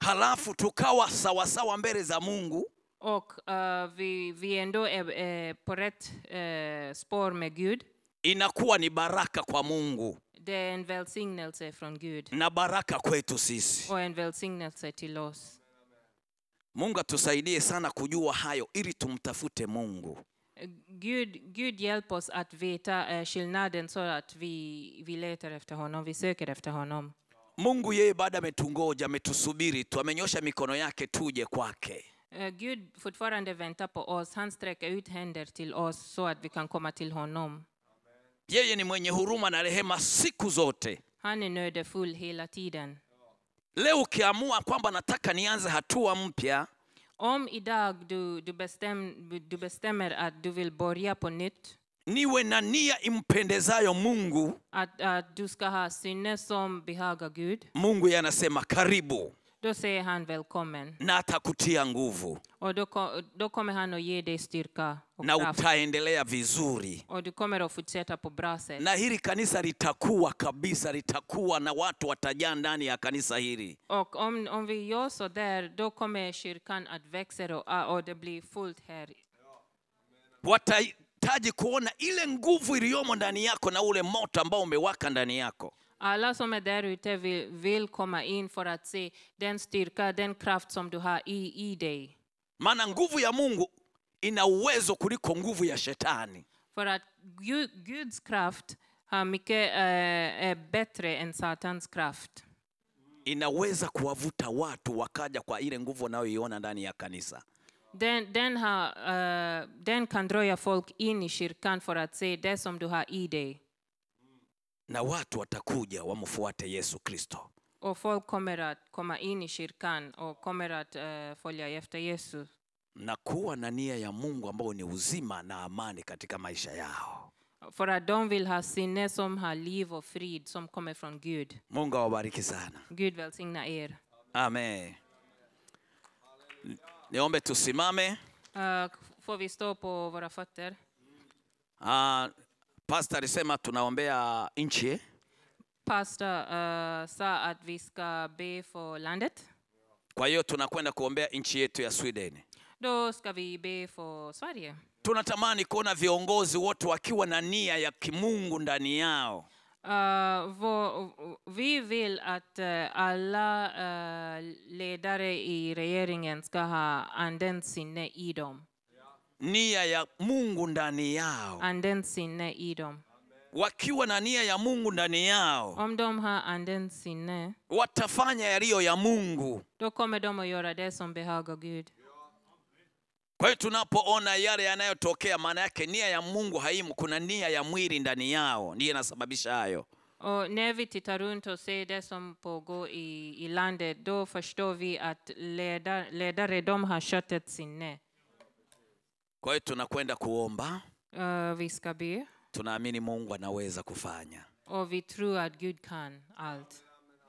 S9: halafu tukawa sawasawa mbele za mungu
S4: och eh, vi, vi ändå är eh, på rätt eh, spår med Gud,
S9: inakuwa ni baraka kwa mungu
S4: det är en välsignelse från Gud
S9: na baraka kwetu sisi
S4: och en välsignelse till oss.
S9: mungu atusaidie sana kujua hayo ili tumtafute mungu
S4: Eh, Gud, Gud hjälp oss att veta eh, skillnaden så att vi, vi letar efter honom, vi söker efter honom.
S9: mungu yeye bado ametungoja ametusubiri tu amenyosha mikono yake tuje kwake
S4: Eh, Gud fortfarande väntar på oss, han sträcker ut händer till oss så att vi kan komma till honom.
S9: yeye ni mwenye huruma na rehema siku zote
S4: Han är nödefull hela tiden.
S9: leo ukiamua kwamba nataka nianze hatua mpya
S4: Om idag du, du, bestäm, du bestämmer att du vill börja på nytt,
S9: niwe na nia impendezayo mungu
S4: att, att du ska ha sinne som behagar Gud,
S9: mungu yeye anasema karibu
S4: då säger han välkommen.
S9: na atakutia nguvu
S4: Och då, ko- då kommer han att ge dig styrka och
S9: na
S4: kraft.
S9: utaendelea vizuri
S4: Och du kommer att fortsätta på bra sätt.
S9: na hili kanisa litakuwa kabisa litakuwa na watu watajaa ndani ya kanisa hili
S4: Och om, om vi gör så där, då kommer kyrkan att växa och, och det blir fullt här.
S9: watahitaji kuona ile nguvu iliyomo ndani yako na ule moto ambao umewaka ndani yako
S4: Alla som är där ute vill, vill komma in för att se den styrka, den kraft som du har i, i dig.
S9: maana nguvu ya mungu ina uwezo kuliko nguvu ya shetani
S4: För att Gud, Guds kraft har mycket, eh, är bättre än Satans kraft.
S9: inaweza kuwavuta watu wakaja kwa ile nguvu unayoiona ndani ya kanisa
S4: Den, den, har, eh, den kan dröja folk in i kyrkan för att se det som du har i dig.
S9: na watu watakuja wamfuate yesu kristo
S4: Och folk kommer att komma in i kyrkan och kommer att eh, följa efter Jesus.
S9: na kuwa na nia ya mungu ambao ni uzima na amani katika maisha yao
S4: För att de vill ha sinne som har liv och frid som kommer från Gud.
S9: mungu awabariki sana
S4: Gud välsigna er.
S9: amen Ni- niombe tusimame
S4: Eh, får vi stå på våra fötter?
S9: Ah, pasta alisema tunaombea nchi eh?
S4: Pastor eh, sa att vi ska be för landet.
S9: kwa hiyo tunakwenda kuombea nchi yetu ya sweden
S4: Då ska vi be för Sverige.
S9: tunatamani kuona viongozi wote wakiwa na nia ya kimungu ndani yao
S4: Eh, vår, vi vill att eh, alla eh, ledare i regeringen ska ha använt sinne i dem.
S9: nia ya mungu ndani yao
S4: Använt sinne i dem.
S9: wakiwa na nia ya mungu ndani yao
S4: Om de har använt sinne,
S9: watafanya yaliyo ya mungu
S4: då kommer de att göra det som behagar Gud.
S9: kwa hiyo tunapoona yale yanayotokea maana yake nia ya mungu haimo kuna nia ya mwili ndani yao ndiyo inasababisha hayo
S4: Och när vi tittar runt och ser det som pågår i, i landet, då förstår vi att ledare, ledare de har köttets sinne.
S9: kwa hiyo tunakwenda kuomba
S4: Eh, vi ska be,
S9: tunaamini mungu anaweza kufanya
S4: och vi tror att Gud kan allt.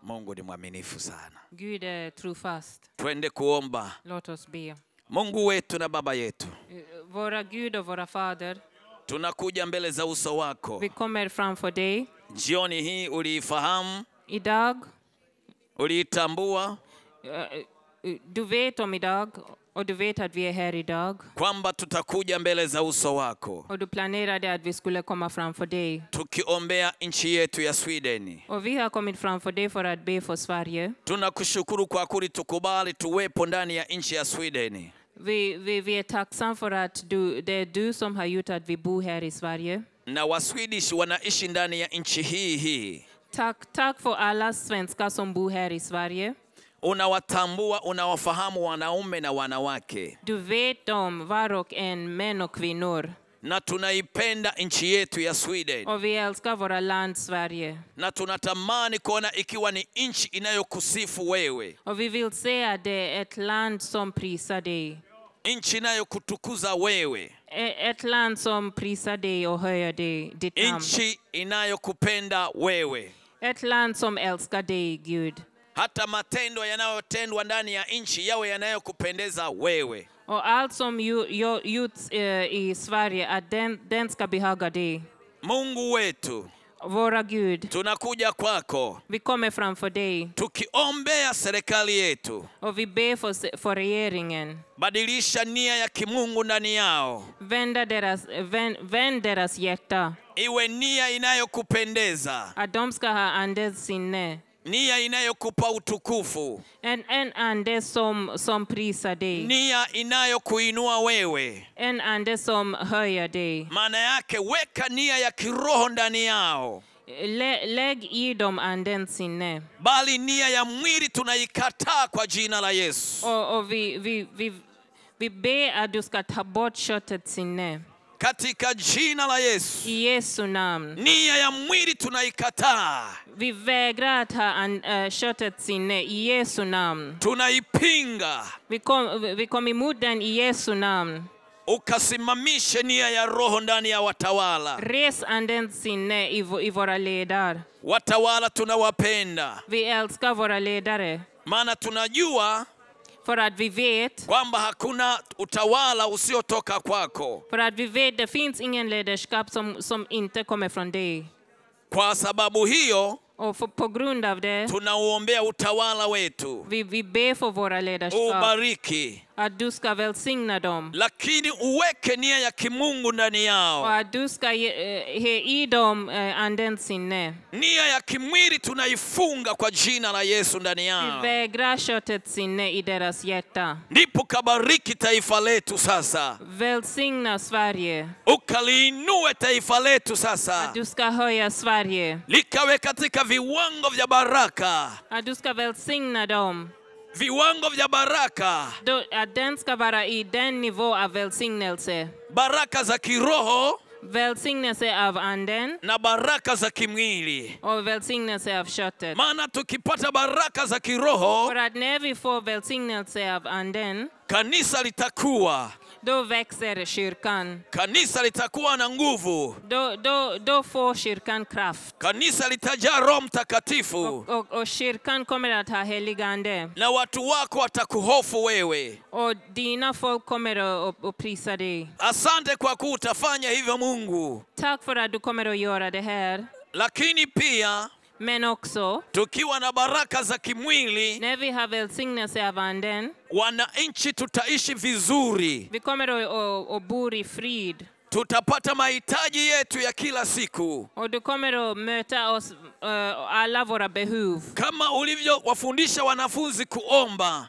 S9: mungu ni mwaminifu sana
S4: Gud är trofast.
S9: twende kuomba
S4: Låt oss be.
S9: mungu wetu na baba yetu
S4: Eh, Våra Gud och våra Fader,
S9: tunakuja mbele za uso wako
S4: Vi kommer framför dig.
S9: jioni hii. Uliifahamu,
S4: Idag,
S9: uliitambua
S4: eh, du vet om idag och du vet att vi är här idag.
S9: kwamba tutakuja mbele za uso wako
S4: Och du planerade att vi skulle komma framför dig.
S9: tukiombea nchi yetu ya Sweden.
S4: Och vi har kommit framför dig för att be för Sverige.
S9: Tunakushukuru kwa kuli tukubali tuwepo ndani ya nchi ya Sweden.
S4: Vi, vi, vi är tacksamma för att du, det är du som har gjort att vi bor här i Sverige.
S9: na Waswedish wanaishi ndani ya nchi hii hii.
S4: Tack, tack för alla svenskar som bor här i Sverige.
S9: Unawatambua, unawafahamu wanaume na wanawake,
S4: Du vet om var och en, män och kvinnor.
S9: na tunaipenda nchi yetu ya Sweden,
S4: Och vi älskar våra land Sverige.
S9: na tunatamani kuona ikiwa ni nchi inayokusifu wewe,
S4: Och vi vill se att det är ett land som prisar dig.
S9: nchi inayokutukuza wewe,
S4: E- Ett land som prisar dig och höjer dig, ditt namn.
S9: nchi inayokupenda wewe.
S4: Ett land som älskar dig, Gud.
S9: Hata matendo yanayotendwa ndani ya nchi yawe yanayokupendeza wewe.
S4: Och allt som ju- ju- gjorts eh, i Sverige, att den, den ska behaga dig.
S9: Mungu wetu,
S4: Våra Gud,
S9: tunakuja kwako
S4: vi kommer framför dig
S9: tukiombea serikali yetu
S4: och vi ber för, se- för regeringen.
S9: Badilisha nia ya kimungu ndani yao,
S4: Vända deras, vänd, vänd deras hjärta,
S9: iwe nia inayokupendeza,
S4: att de ska ha andes sinne.
S9: nia inayokupa utukufu,
S4: En, en ande som, som prisar dig,
S9: nia inayokuinua wewe.
S4: en ande som höjer dig.
S9: Maana yake weka nia ya kiroho ndani yao,
S4: Lä, lägg i dem andens sinne.
S9: bali nia ya mwili tunaikataa kwa jina la Yesu.
S4: Och, och vi, vi, vi, vi ber att du ska ta bort köttets sinne.
S9: Katika jina la Yesu,
S4: I Jesu namn.
S9: nia ya mwili tunaikataa,
S4: Vi vägrar att ha an, eh, köttets sinne i Jesu namn.
S9: tunaipinga.
S4: Vi kom, vi kom emot den i Jesu namn.
S9: Ukasimamishe nia ya roho ndani ya watawala.
S4: Res andens sinne i, vå- i våra ledare.
S9: Watawala tunawapenda,
S4: Vi älskar våra ledare
S9: maana tunajua
S4: för att vi vet
S9: kwamba hakuna utawala usiotoka kwako,
S4: för att vi vet det finns ingen ledarskap som, som inte kommer från dig.
S9: kwa sababu hiyo
S4: Och för, på grund av det,
S9: tunauombea utawala wetu,
S4: vi, vi ber för våra ledarskap
S9: ubariki,
S4: att du ska välsigna dem
S9: lakini uweke nia ya kimungu ndani
S4: och
S9: yao.
S4: att du ska ge, eh, ge i dem eh, andens sinne.
S9: Nia ya kimwili tunaifunga kwa jina la Yesu ndani
S4: Vi
S9: yao,
S4: vägrar köttets sinne i deras hjärta.
S9: ndipo kabariki taifa letu sasa,
S4: Välsigna Sverige.
S9: ukaliinue taifa letu sasa,
S4: Att du ska höja Sverige.
S9: likawe katika viwango vya baraka,
S4: Att du ska välsigna dem.
S9: viwango vya baraka
S4: Då- Att den ska vara i den nivå av välsignelse.
S9: baraka za kiroho
S4: Välsignelse av anden
S9: na baraka za kimwili.
S4: och välsignelse av köttet.
S9: Maana tukipata baraka za kiroho,
S4: För att när vi får välsignelse av anden,
S9: kanisa litakuwa,
S4: då växer kyrkan.
S9: kanisa litakuwa na nguvu,
S4: Då, då, då får kyrkan kraft.
S9: kanisa litajaa Roho Mtakatifu,
S4: Och, och, och kyrkan kommer att ha helig ande.
S9: na watu wako watakuhofu wewe.
S4: Och dina folk kommer att, att, att prisa dig.
S9: Asante kwa kuwa utafanya hivyo Mungu.
S4: Tack för att du kommer att göra det här.
S9: Lakini pia
S4: Men också,
S9: tukiwa na baraka za kimwili,
S4: när vi har välsignelse av anden,
S9: wananchi tutaishi vizuri,
S4: vi kommer att, att, att bo i frid.
S9: tutapata mahitaji yetu ya kila siku.
S4: Och du kommer att möta oss, eh, alla våra behov.
S9: kama ulivyowafundisha wanafunzi kuomba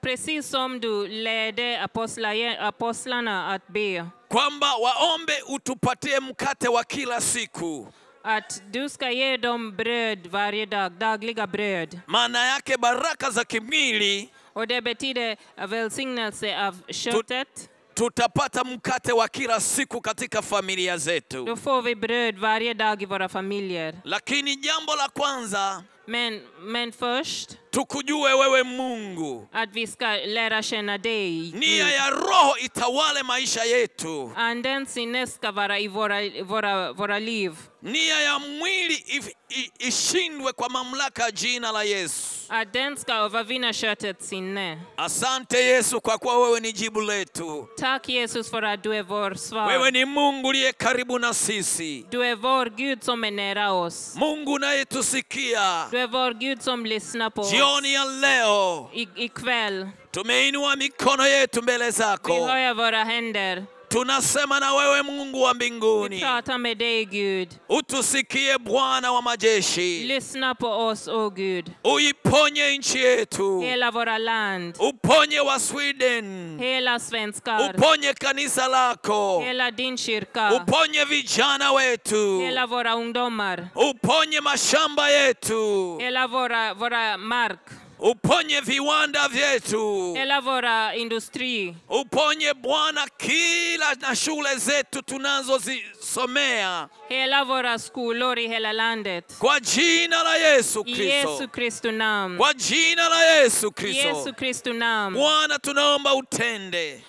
S4: Precis som du ledde apostla- apostlarna att be.
S9: kwamba waombe utupatie mkate wa kila siku.
S4: Att du ska ge dem bröd varje dag, dagliga bröd.
S9: Maana yake baraka za kimwili,
S4: Och det betyder välsignelse av köttet.
S9: tutapata mkate wa kila siku katika familia zetu.
S4: Då får vi bröd varje dag i våra familjer.
S9: Lakini jambo la kwanza,
S4: Men, men först,
S9: tukujue wewe Mungu.
S4: att vi ska lära känna dig.
S9: Nia
S4: Gud.
S9: ya Roho itawale maisha yetu,
S4: Andens sinne ska vara i våra, våra, våra liv.
S9: nia ya mwili if- i- ishindwe kwa mamlaka ya jina la Yesu.
S4: Adenska övervinner köttet sinne.
S9: asante yesu kwa kuwa wewe ni jibu letu
S4: Tack Jesus för att du är vår
S9: wewe
S4: svar.
S9: ni mungu uliye karibu na sisi
S4: Du är vår Gud som är nära oss.
S9: mungu unayetusikia
S4: Du är vår Gud som lyssnar på oss.
S9: jioni ya leo
S4: I, ikväll,
S9: tumeinua mikono yetu mbele
S4: vi
S9: zako
S4: höjer våra händer.
S9: tunasema na wewe mungu wa
S4: Vi
S9: mbinguni
S4: pratar med dig Gud.
S9: utusikie bwana wa majeshi
S4: Lyssna på oss, o Gud.
S9: uiponye nchi yetu
S4: Hela våra land,
S9: Oh. uponye wa sweden
S4: hela svenskar,
S9: uponye kanisa lako
S4: hela din kyrka,
S9: uponye vijana wetu
S4: hela våra ungdomar,
S9: uponye mashamba yetu
S4: hela våra, våra mark,
S9: uponye viwanda vyetu
S4: hela våra industri.
S9: uponye bwana kila na shule zetu tunazozisomea
S4: Hela våra skolor i hela landet.
S9: kwa jina la yesu
S4: I Jesu
S9: kristo
S4: Kristi namn.
S9: kwa jina la yesu
S4: I Jesu
S9: kristo
S4: Kristi namn.
S9: bwana tunaomba utende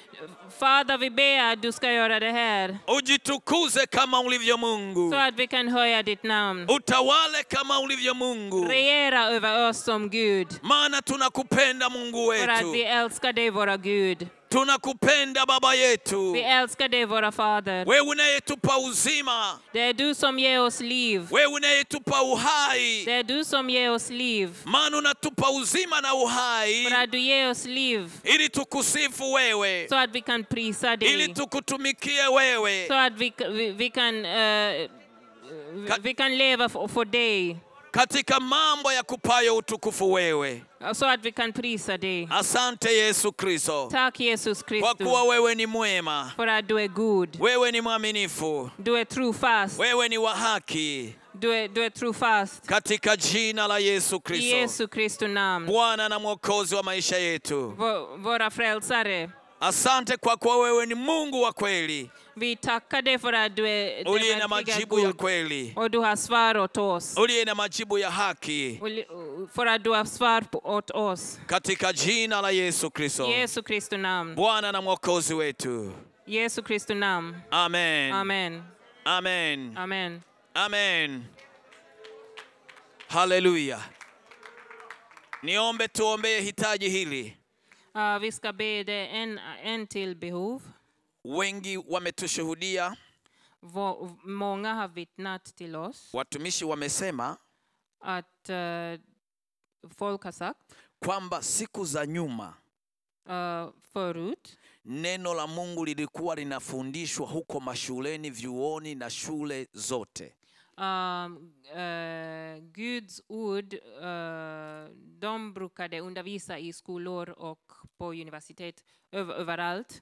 S4: Fader, vi ber att du ska göra det här
S9: ujitukuze kama ulivyo mungu
S4: så att vi kan höja ditt namn.
S9: utawale kama ulivyo mungu
S4: Regera över oss som Gud.
S9: maana tunakupenda mungu
S4: För att
S9: wetu
S4: vi älskar dig, våra Gud.
S9: tunakupenda baba yetu
S4: Vi älskar dig, våra Fader.
S9: wewe unayetupa uzima
S4: Det är du som ger oss liv.
S9: wewe unayetupa uhai
S4: Det är du som ger oss liv.
S9: maana unatupa uzima na uhai
S4: För att du ger oss liv
S9: ili tukusifu wewe
S4: så att vi kan prisa
S9: ili
S4: dig.
S9: tukutumikie wewe
S4: Så att vi, vi, vi, kan, eh, vi,
S9: Ka-
S4: vi kan leva för, för dig.
S9: katika mambo ya kupayo utukufu wewe
S4: Så att vi kan prisa dig.
S9: asante yesu kristo
S4: Tack Jesus
S9: kwa
S4: Kristus
S9: kuwa wewe ni mwema
S4: för att du är god.
S9: wewe ni mwaminifu
S4: Du är trofast.
S9: wewe ni wa haki
S4: Du är, du är trofast.
S9: katika jina la yesu
S4: I
S9: kristo
S4: Jesu Kristi namn.
S9: bwana na mwokozi wa maisha yetu
S4: Vå- Våra frälsare,
S9: asante kwa kuwa wewe ni mungu wa kweli
S4: vi tackar dig för att du är den
S9: uliye na
S4: verkliga
S9: majibu ya
S4: Gud.
S9: kweli
S4: Och du har svar åt oss.
S9: uliye na majibu ya haki
S4: Och li- För att du har svar på- åt oss.
S9: katika jina la yesu kristo
S4: Jesu Kristi namn.
S9: bwana na mwokozi wetu
S4: Jesu Kristi namn.
S9: amen
S4: Amen.
S9: amen
S4: Amen.
S9: amen haleluya niombe tuombee hitaji hili
S4: Ah, vi ska be dig en, en till behov.
S9: wengi wametushuhudia
S4: Vå- Många har vittnat till oss
S9: watumishi wamesema
S4: att eh, folk har sagt
S9: kwamba siku za nyuma
S4: eh, förut
S9: neno la mungu lilikuwa linafundishwa huko mashuleni vyuoni na shule zote
S4: Um, eh, Guds ord, eh, de brukade undervisa i skolor och på universitet öv- överallt.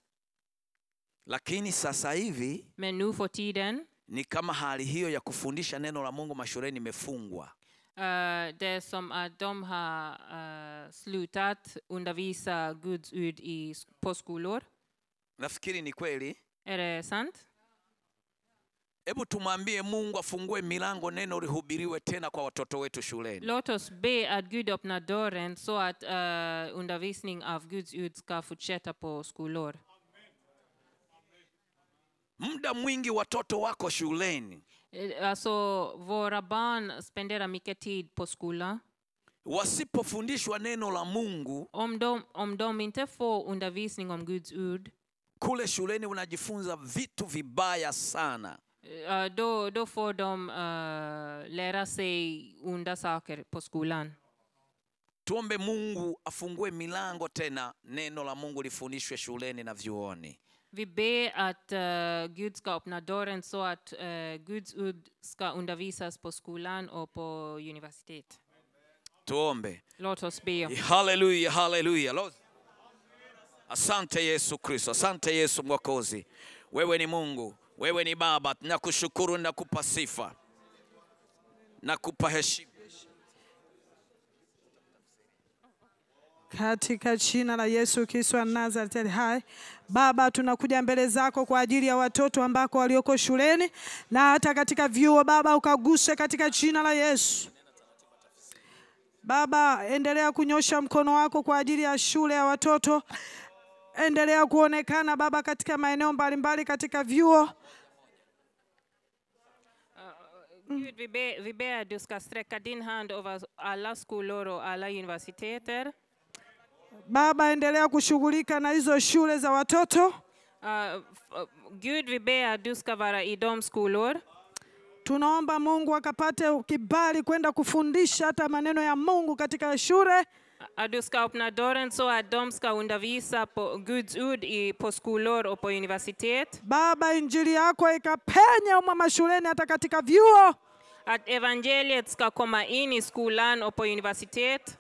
S9: lakini sasa hivi
S4: Men nu för tiden,
S9: ni kama hali hiyo ya kufundisha neno la mungu mashuleni imefungwa
S4: eh, det är som att de har eh, slutat undervisa Guds ord i, s- på skolor.
S9: nafikiri ni kweli
S4: Är det sant?
S9: hebu tumwambie mungu afungue milango neno lihubiriwe tena kwa watoto wetu shuleni
S4: Låt oss be att Gud öppnar dörren så att eh, undervisning av Guds ord ska fortsätta på skolor.
S9: muda mwingi watoto wako shuleni
S4: Eh, Alltså, våra barn spenderar mycket tid på skolan.
S9: wasipofundishwa neno la mungu
S4: Om de, om de inte får undervisning om Guds ord,
S9: kule shuleni unajifunza vitu vibaya sana
S4: eh, då, då får de eh, lära sig onda saker på skolan.
S9: tuombe mungu afungue milango tena neno la mungu lifundishwe shuleni na vyuoni
S4: Vi ber att eh, Gud ska öppna dörren så att eh, Guds ord ska undervisas på skolan och på universitet.
S9: tuombe
S4: Låt oss be.
S9: haleluya haleluya Lord. asante yesu kristo asante yesu mwokozi wewe ni mungu wewe ni baba nakushukuru nakupa sifa nakupa heshima
S6: katika jina la Yesu Kristo wa Nazareti ali hai. Baba, tunakuja mbele zako kwa ajili ya watoto ambako walioko shuleni na hata katika vyuo. Baba, ukaguse katika jina la Yesu. Baba, endelea kunyosha mkono wako kwa ajili ya shule ya watoto. Endelea kuonekana Baba katika maeneo mbalimbali, katika vyuo
S4: Gud, vi ber, vi ber att du ska sträcka din hand över alla skolor och alla universiteter.
S6: Baba, endelea kushughulika na hizo shule za watoto.
S4: Eh, f- eh, Gud, vi ber att du ska vara i de skolor.
S6: Tunaomba Mungu akapate kibali kwenda kufundisha hata maneno ya Mungu katika shule.
S4: Att du ska öppna dörren så att de ska undervisa på Guds ord i, på skolor och på universitet.
S6: Baba, injili yako ikapenya umwe mashuleni hata katika vyuo
S4: Att evangeliet ska komma in i skolan och på universitet.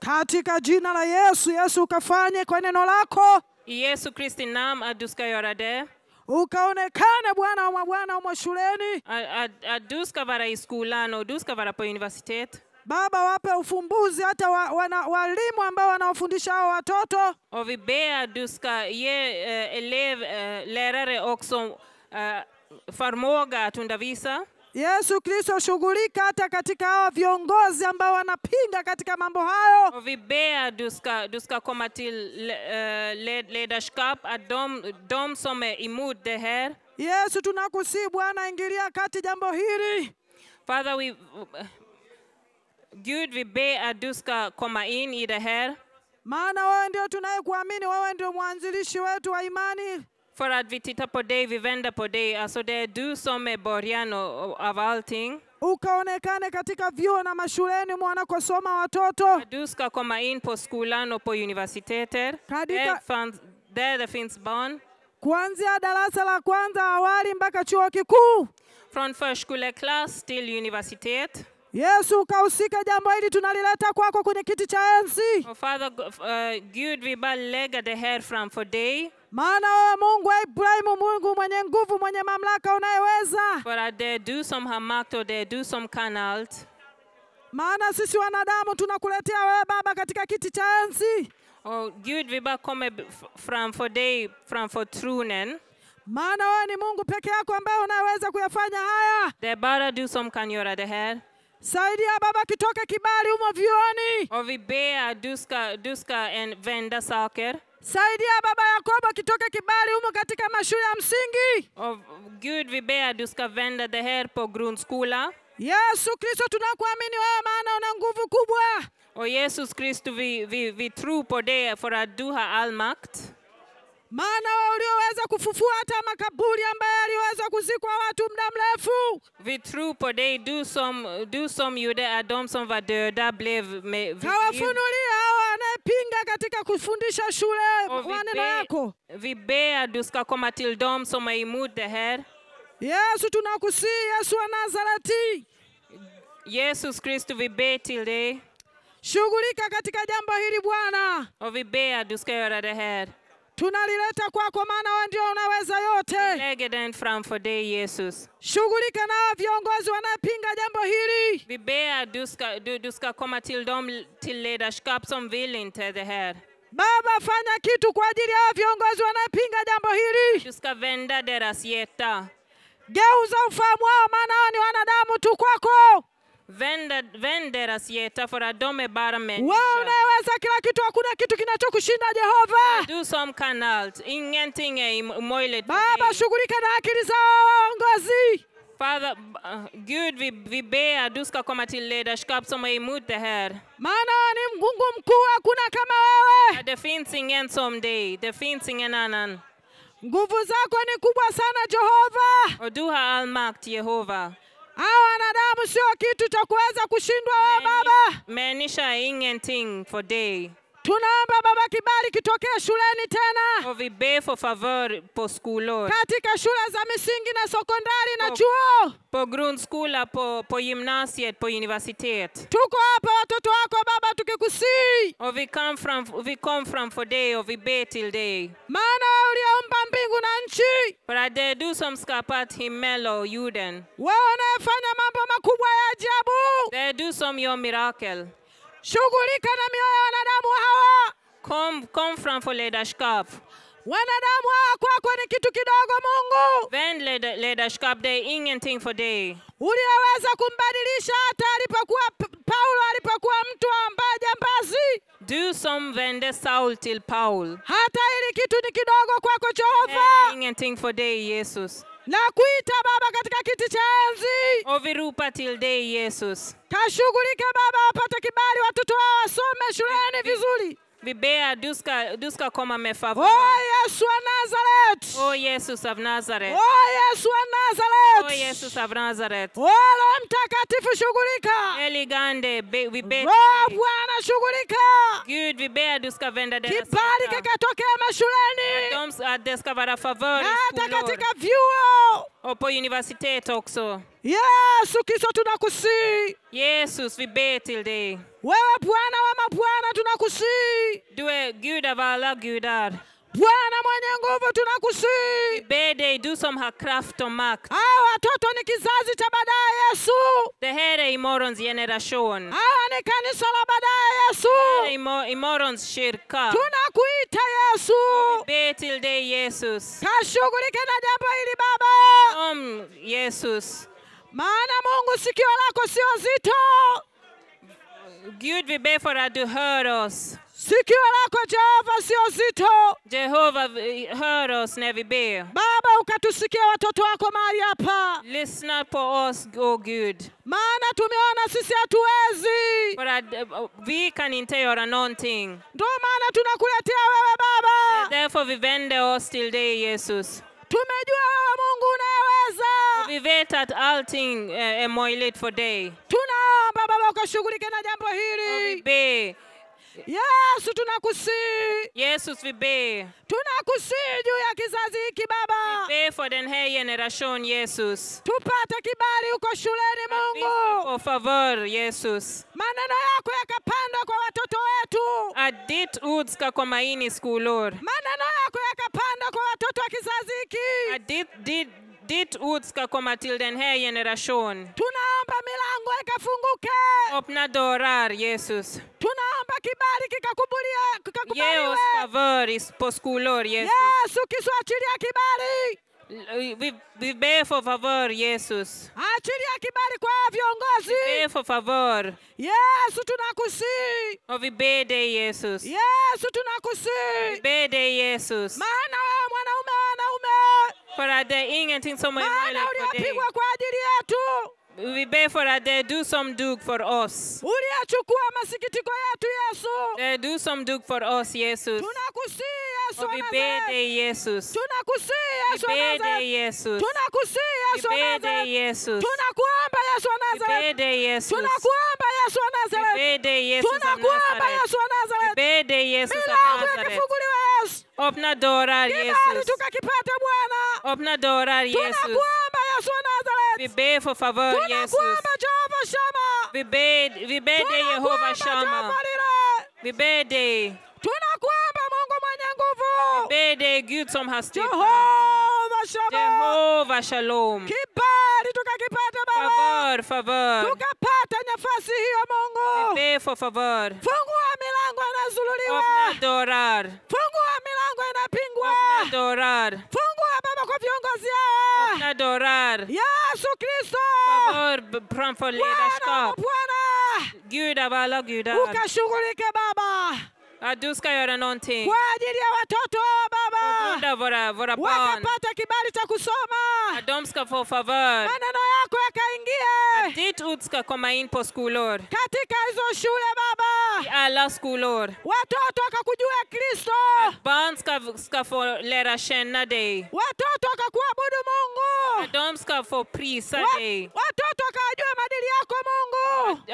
S6: katika jina la Yesu. Yesu ukafanye kwa neno lako,
S4: I Jesu Kristi namn att du ska göra det.
S6: ukaonekane Bwana wa Bwana umwe shuleni.
S4: Att, att, att du ska vara i skolan och du ska vara på universitet.
S6: Baba, wape ufumbuzi hata wa, wana, walimu ambao wanawafundisha hao watoto.
S4: Och vi ber att du ska ge eh, elev, eh, lärare också eh, förmåga att undervisa.
S6: Yesu Kristo, shughulika hata katika hawa viongozi ambao wanapinga katika mambo hayo.
S4: Och vi ber att du ska, du ska komma till eh, led, ledarskap, att de, de som är emot det här.
S6: Yesu, tunakusihi Bwana, ingilia kati jambo hili.
S4: Father, vi, Gud, vi ber att du ska komma in i det här.
S6: maana wewe ndio tunayekuamini, wewe ndio mwanzilishi wetu wa imani.
S4: För att vi tittar på dig, vi vänder på dig. Alltså det är du som är början och- och- av allting.
S6: Ukaonekane katika vyuo na mashuleni mwanakosoma watoto,
S4: Att du ska komma in på skolan och på universiteter.
S6: Kadita-
S4: Där, fanns, där det finns barn.
S6: kuanzia darasa la kwanza awali mpaka chuo kikuu.
S4: Från förskoleklass till universitet.
S6: Yesu, ukahusika jambo hili, tunalileta kwako kwenye kiti cha enzi,
S4: Och Fader eh, Gud, vi bara lägger det här framför dig.
S6: maana wewe Mungu wa Ibrahimu, Mungu mwenye nguvu, mwenye mamlaka, unayeweza.
S4: För att det är du som har makt och det är du som kan allt.
S6: Maana sisi wanadamu tunakuletea wewe Baba katika kiti cha enzi,
S4: Och Gud, vi bara kommer b- f- framför dig, framför tronen.
S6: maana wewe ni Mungu peke yako ambaye unayeweza kuyafanya haya.
S4: Det är bara du som kan göra det här.
S6: Saidia Baba, kitoke kibali humo vyuoni.
S4: Och vi ber att du ska, du ska en, vända saker.
S6: Saidia Baba, Yakobo kitoke kibali humo katika mashule ya msingi.
S4: Och Gud, vi ber att du ska vända det här på grundskola.
S6: Yesu Kristo, tunakuamini wewe, maana una nguvu kubwa.
S4: Och Jesus Kristus, vi, vi, vi tror på det för att du har all makt.
S6: Maana wewe ulioweza kufufua hata makaburi ambayo yaliweza kuzikwa watu muda mrefu.
S4: Vi tror på dig, du som, du som gjorde att de som var döda blev med vid liv.
S6: Kawafunulie hao anayepinga katika kufundisha shule
S4: Och vi,
S6: maneno yako.
S4: ber, vi ber att du ska komma till dem som är emot det här.
S6: Yesu, tunakusihi Yesu wa Nazareti,
S4: Jesus Kristus, vi ber till dig
S6: shughulika katika jambo hili Bwana.
S4: och vi ber att du ska göra det här.
S6: Tunalileta kwako, maana wewe ndio unaweza yote.
S4: Vi lägger den framför dig, Jesus.
S6: Shughulika na hawa viongozi wanayepinga jambo hili.
S4: Vi ber att du ska, du, du ska komma till dem till ledarskap som vill inte det här.
S6: Baba, fanya kitu kwa ajili ya hawa viongozi wanayepinga jambo hili.
S4: Du ska vända deras hjärta.
S6: Geuza ufahamu wao, maana hao ni wanadamu tu kwako.
S4: Vända, vänd deras hjärta för att de är bara
S6: Wewe
S4: människor.
S6: unayeweza kila kitu, hakuna kitu kinachokushinda Jehova.
S4: Du som kan allt. Ingenting är im- omöjligt för
S6: Baba,
S4: dig.
S6: shughulika na akili za hao waongozi.
S4: Father, b- uh, Gud, vi, vi ber att du ska komma till ledarskap som är emot det här.
S6: maana wewe ni Mungu mkuu, hakuna kama wewe.
S4: Att Det finns ingen som dig. Det finns ingen annan.
S6: Nguvu zako ni kubwa sana Jehova.
S4: Och du har all makt, Jehova.
S6: Hao wanadamu sio kitu cha kuweza kushindwa wewe Baba.
S4: Människa är ingenting för dig.
S6: Tunaomba Baba, kibali kitokee shuleni tena,
S4: Och vi ber för favör på skolor,
S6: katika shule za misingi na sekondari na
S4: Oh.
S6: chuo.
S4: på grundskola, på, på gymnasiet, på universitet.
S6: Tuko hapa watoto wako Baba, tukikusihi,
S4: Och vi kom, fram, vi kom framför dig och vi ber till dig.
S6: maana wewe uliyeumba mbingu na nchi,
S4: För att det är du som skapat himmel och jorden.
S6: wewe unayefanya mambo makubwa ya ajabu,
S4: Det är du som gör mirakel.
S6: shughulika na mioyo ya wanadamu hawa.
S4: Kom, kom framför ledarskap.
S6: Wanadamu hawa kwako ni kitu kidogo, Mungu
S4: Vänd led- ledarskap, det är ingenting för dig.
S6: uliyeweza kumbadilisha hata alipokuwa P- Paulo alipokuwa mtu ambaye jambazi.
S4: Du som vände Saul till Paul.
S6: Hata hili kitu ni kidogo kwako
S4: Det är
S6: Jehova.
S4: ingenting för dig, Jesus.
S6: Nakuita Baba katika kiti cha enzi,
S4: Och vi ropar till dig Jesus.
S6: kashughulike Baba, wapate kibali watoto hao wasome shuleni vizuri.
S4: Vi ber att du ska, du ska komma med favor.
S6: O Yesu wa Nazareti,
S4: Åh Jesus av Nazaret.
S6: o Yesu wa
S4: Åh Jesus
S6: Nazareti,
S4: av Nazaret.
S6: o Roho Mtakatifu shughulika,
S4: Heligande, be, vi ber
S6: Roho
S4: till dig.
S6: Bwana shughulika,
S4: Gud, vi ber att du ska vända deras
S6: kibali
S4: hjärta.
S6: kikatokea mashuleni
S4: Att de- Att det ska vara
S6: na
S4: favör i
S6: hata
S4: skolor
S6: katika vyuo.
S4: och på universitet också.
S6: Yesu Kristo tunakusii,
S4: Jesus, vi ber till dig.
S6: wewe Bwana wa mabwana tunakusii,
S4: Du är Gud av alla gudar.
S6: Bwana mwenye nguvu tunakusii.
S4: Ber dig, du som har kraft och makt.
S6: Hawa watoto ni kizazi cha baadaye Yesu.
S4: Det här är imorgons generation.
S6: Hawa ni kanisa la baadaye Yesu.
S4: Det är imo- imorgons kyrka.
S6: Tunakuita Yesu.
S4: Be till dig Jesus.
S6: Kashughulike na jambo hili Baba,
S4: Om Jesus.
S6: maana Mungu sikio lako sio zito,
S4: Gud, vi ber för att du hör oss.
S6: sikio lako Jehova sio zito.
S4: Jehova, vi- hör oss när vi ber.
S6: Baba, ukatusikia watoto wako mahali hapa,
S4: Lyssna på oss, åh Gud.
S6: maana tumeona sisi hatuwezi,
S4: För att eh, vi kan inte göra någonting.
S6: ndio maana tunakuletea wewe Baba.
S4: Därför vi vänder oss till dig Jesus.
S6: Tumejua wewe Mungu unayeweza.
S4: Vi vet att allting eh, är möjligt för dig.
S6: Tunaomba Baba ukashughulike na jambo
S4: Och vi
S6: hili.
S4: ber.
S6: Yesu tunakusii,
S4: Jesus, vi ber.
S6: tunakusii juu ya kizazi hiki Baba,
S4: Be för den här generationen Jesus.
S6: tupate kibali huko shuleni
S4: Vi ska
S6: Mungu,
S4: få favör Jesus.
S6: maneno yako yakapandwa kwa watoto wetu,
S4: Att ditt ord ska komma in i skolor.
S6: maneno yako yakapandwa kwa watoto wa kizazi hiki.
S4: Att ditt, ditt, ditt ord ska komma till den här generationen.
S6: Tunaomba milango ikafunguke,
S4: Öppna dörrar Jesus.
S6: tunaomba kibali kikakubulia-
S4: Ge
S6: kikakubaliwe.
S4: oss favör i- på skolor Jesus.
S6: Yesu kisuachilia kibali,
S4: Vi, vi ber för favör Jesus.
S6: achilia kibali kwa viongozi.
S4: Be för favör.
S6: Yesu tunakusii
S4: Och vi ber dig Jesus.
S6: Yesu
S4: Vi
S6: tunakusii,
S4: ber dig Jesus.
S6: maana wewe mwanaume wa wanaume,
S4: För att det är ingenting som är
S6: maana
S4: omöjligt för dig.
S6: uliyepigwa kwa ajili yetu,
S4: Vi ber för att det är du som dog för oss.
S6: uliyechukua masikitiko yetu Yesu,
S4: Det är du som dog för oss Jesus.
S6: tunakusii Oh, Yesu
S4: Och
S6: wa
S4: vi ber
S6: Nazareti,
S4: dig Jesus.
S6: tunakusii
S4: Vi
S6: Yesu wa
S4: ber dig
S6: Nazareti,
S4: Jesus.
S6: tunakusii
S4: Vi
S6: Yesu wa
S4: ber dig
S6: Nazareti,
S4: Jesus.
S6: tunakuomba Yesu wa
S4: Vi ber
S6: Nazareti,
S4: dig Jesus.
S6: tunakuomba Yesu wa
S4: Vi
S6: Nazareti,
S4: ber dig Jesus av
S6: tunakuomba
S4: Nazaret.
S6: Yesu wa
S4: Vi
S6: Nazareti,
S4: ber dig Jesus av
S6: milango
S4: Nazaret.
S6: ikafunguliwe Yesu,
S4: Öppna dörrar
S6: kibali
S4: ah, Jesus.
S6: tukakipate Bwana.
S4: Öppna dörrar ah, Jesus.
S6: Tunakuomba Oh, Yesu wa
S4: Vi
S6: Nazareti.
S4: ber för favör Jesus.
S6: Tunakuomba Jehova Shama.
S4: Vi ber, vi ber dig
S6: Tunakuomba
S4: Jehova
S6: Jehova
S4: Shama.
S6: Lile.
S4: Vi ber dig.
S6: Tunakuomba Mungu mwenye nguvu.
S4: Ber dig Gud som har styrka.
S6: Jehova Shama.
S4: Jehova Shalom.
S6: Kibali tukakipata Baba.
S4: Favör, favör.
S6: Tukapata nafasi hiyo Mungu.
S4: Be för favör.
S6: Fungua milango inazululiwa.
S4: Öppna dörrar.
S6: Fungua milango inapingwa.
S4: Öppna dörrar.
S6: Fungua Baba kwa viongozi hawa.
S4: Öppna dörrar.
S6: Yesu Kristo.
S4: Favör b- framför
S6: Bwana
S4: ledarskap.
S6: Bwana.
S4: Gud av alla gudar.
S6: ukashughulike Baba
S4: Att du ska göra någonting.
S6: kwa ajili ya watoto hawa
S4: På
S6: Baba,
S4: grund av våra, våra barn.
S6: wakapata kibali cha kusoma,
S4: Att de ska få favör.
S6: maneno yako yakaingie
S4: Ditt ord ska komma in på skolor.
S6: katika hizo shule Baba,
S4: I alla skolor.
S6: watoto wakakujua Kristo,
S4: Barn ska, ska få lära känna dig.
S6: watoto wakakuabudu Mungu,
S4: De ska få prisa dig.
S6: Wa- watoto wakajua maadili yako Mungu,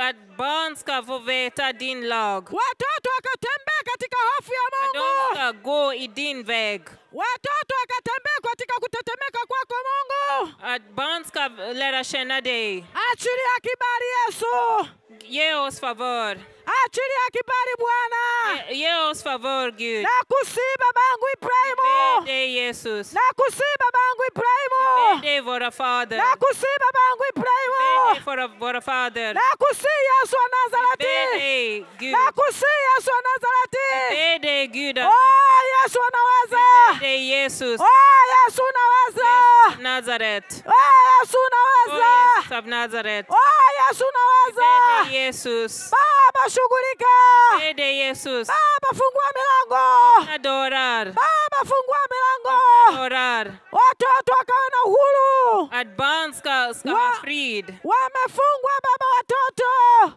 S4: Att barn ska få veta din lag.
S6: watoto wakatembea katika hofu ya
S4: Att de
S6: Mungu,
S4: ska gå i din väg.
S6: watoto wakatembea katika kutetemeka kwako Mungu.
S4: Att barn ska lära känna dig.
S6: Achilia kibali Yesu.
S4: Ge oss favör.
S6: achilia kibali Bwana.
S4: Ge- Ge oss favör, Gud.
S6: Nakusii babangu
S4: Be
S6: Ibrahimu,
S4: dig, Jesus.
S6: nakusii babangu
S4: Be
S6: Ibrahimu,
S4: dig, våra fader.
S6: nakusii babangu
S4: Be dig,
S6: Ibrahimu,
S4: våra, våra fader.
S6: nakusii Yesu wa
S4: Be
S6: Nazareti,
S4: dig, Gud.
S6: nakusii Yesu wa Nazareti.
S4: Be dig, Gud.
S6: O Yesu unaweza,
S4: Be dig, Jesus.
S6: o Yesu unaweza,
S4: Nazaret.
S6: o Yesu
S4: Åh,
S6: unaweza,
S4: Jesus av Nazaret.
S6: o Yesu
S4: Be dig,
S6: unaweza. Oh,
S4: Jesus.
S6: Baba shughulika,
S4: Be dig, Jesus.
S6: Baba fungua Oh, milango,
S4: Öppna dörrar.
S6: Baba fungua milango, orar
S7: watoto wakawa na uhuru,
S6: att barn ska, ska
S7: Wa-
S6: ha frid.
S7: wamefungwa baba watoto,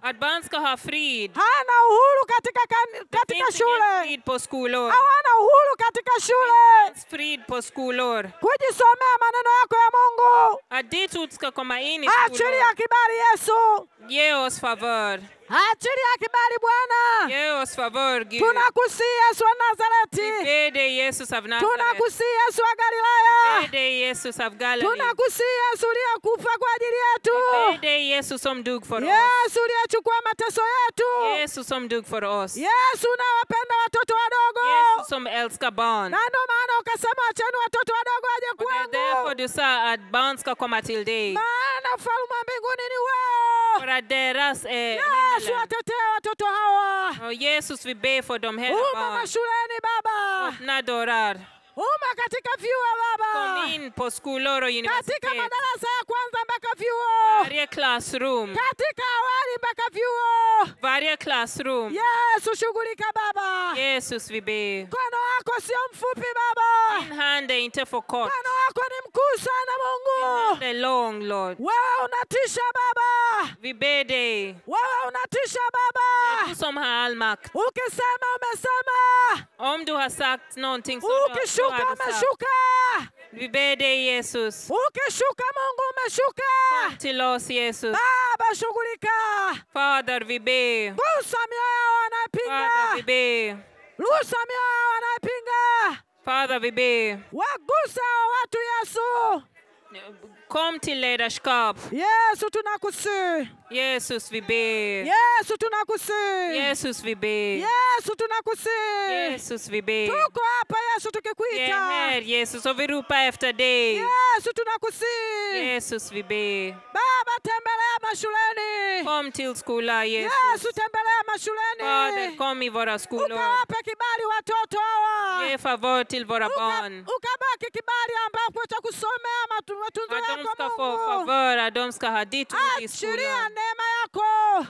S6: Att barn ska ha frid.
S7: hana uhuru katika, kan- katika
S6: Finns ingen
S7: shule,
S6: frid på skolor.
S7: hawana uhuru katika shule
S6: Finns frid på skolor.
S7: kujisomea maneno yako ya Mungu.
S6: Att ditt ord ska komma in i
S7: Achilia
S6: skolor.
S7: kibali Yesu,
S6: Ge oss favör.
S7: achilia kibali Bwana.
S6: Ge oss favör, Gud.
S7: Tunakusii Yesu wa
S6: Vi
S7: Nazareti,
S6: ber dig, Jesus av Nazaret.
S7: tunakusii Yesu wa
S6: Vi
S7: Galilaya,
S6: ber dig, Jesus av Galileen.
S7: tunakusii Yesu uliyekufa kwa ajili
S6: Vi ber
S7: yetu,
S6: dig, Jesus, som dog för oss.
S7: Yesu uliyechukua mateso yetu,
S6: Jesus, som dog för oss.
S7: Yesu unawapenda watoto wadogo.
S6: Jesus, som älskar barn.
S7: na ndio maana ukasema acheni watoto wadogo waje
S6: Och det är därför
S7: kwangu,
S6: du sa att barn ska komma till dig.
S7: maana ufalme wa mbinguni ni wao.
S6: För att deras eh, är
S7: Yesu
S6: himmelen.
S7: atetee watoto hawa.
S6: Och Jesus, vi ber för de här
S7: Uma
S6: barn.
S7: mashuleni Baba,
S6: Öppna dörrar.
S7: uma katika vyuo Baba,
S6: Kom in på skolor och
S7: katika
S6: universitet.
S7: madarasa ya kwanza mpaka vyuo,
S6: Varje klassrum.
S7: katika awali mpaka vyuo.
S6: Varje klassrum.
S7: Yesu shughulika Baba,
S6: Jesus, vi ber.
S7: mkono wako sio mfupi Baba,
S6: Din hand är inte för kort.
S7: mkono wako ni mkuu sana Mungu.
S6: Den är lång, Lord.
S7: Wewe unatisha Baba,
S6: Vi ber dig.
S7: Wewe unatisha Baba,
S6: Du som har all makt.
S7: ukisema umesema,
S6: Om du har sagt någonting som du har- så
S7: ukishuka
S6: har du sagt.
S7: umeshuka,
S6: Vi ber dig, Jesus.
S7: ukishuka Mungu umeshuka.
S6: Kom till oss, Jesus.
S7: Baba shughulika,
S6: Fader, vi ber.
S7: gusa mioyo
S6: Fader, vi
S7: wanayepinga,
S6: ber.
S7: rusa mioyo wanayepinga,
S6: Fader, vi ber.
S7: wagusa hao watu Yesu.
S6: Kom till ledarskap.
S7: Yesu tunakusi,
S6: Jesus, vi ber.
S7: Yesu tunakusi,
S6: Jesus, vi ber.
S7: Yesu tunakusi.
S6: Jesus, vi ber.
S7: Tuko hapa Yesu
S6: Vi är
S7: tukikuita,
S6: här, Jesus, och vi ropar efter dig.
S7: Yesu tunakusi.
S6: Jesus, vi ber.
S7: Baba tembelea mashuleni.
S4: Oh,
S6: Kom till skolan, Jesus.
S7: Yesu tembelea
S6: Fader,
S7: mashuleni.
S6: kom i våra skolor.
S7: Ukawape kibali watoto hawa.
S6: Ge favör till våra
S7: Uka-
S6: barn.
S7: Ukabaki kibali ambapo cha kusomea matu- matunzo
S6: Att de ska
S7: yako
S6: få
S7: Mungu.
S6: favör, att de ska ha ditt ord i
S7: Achilia
S6: skolan.
S7: neema yako.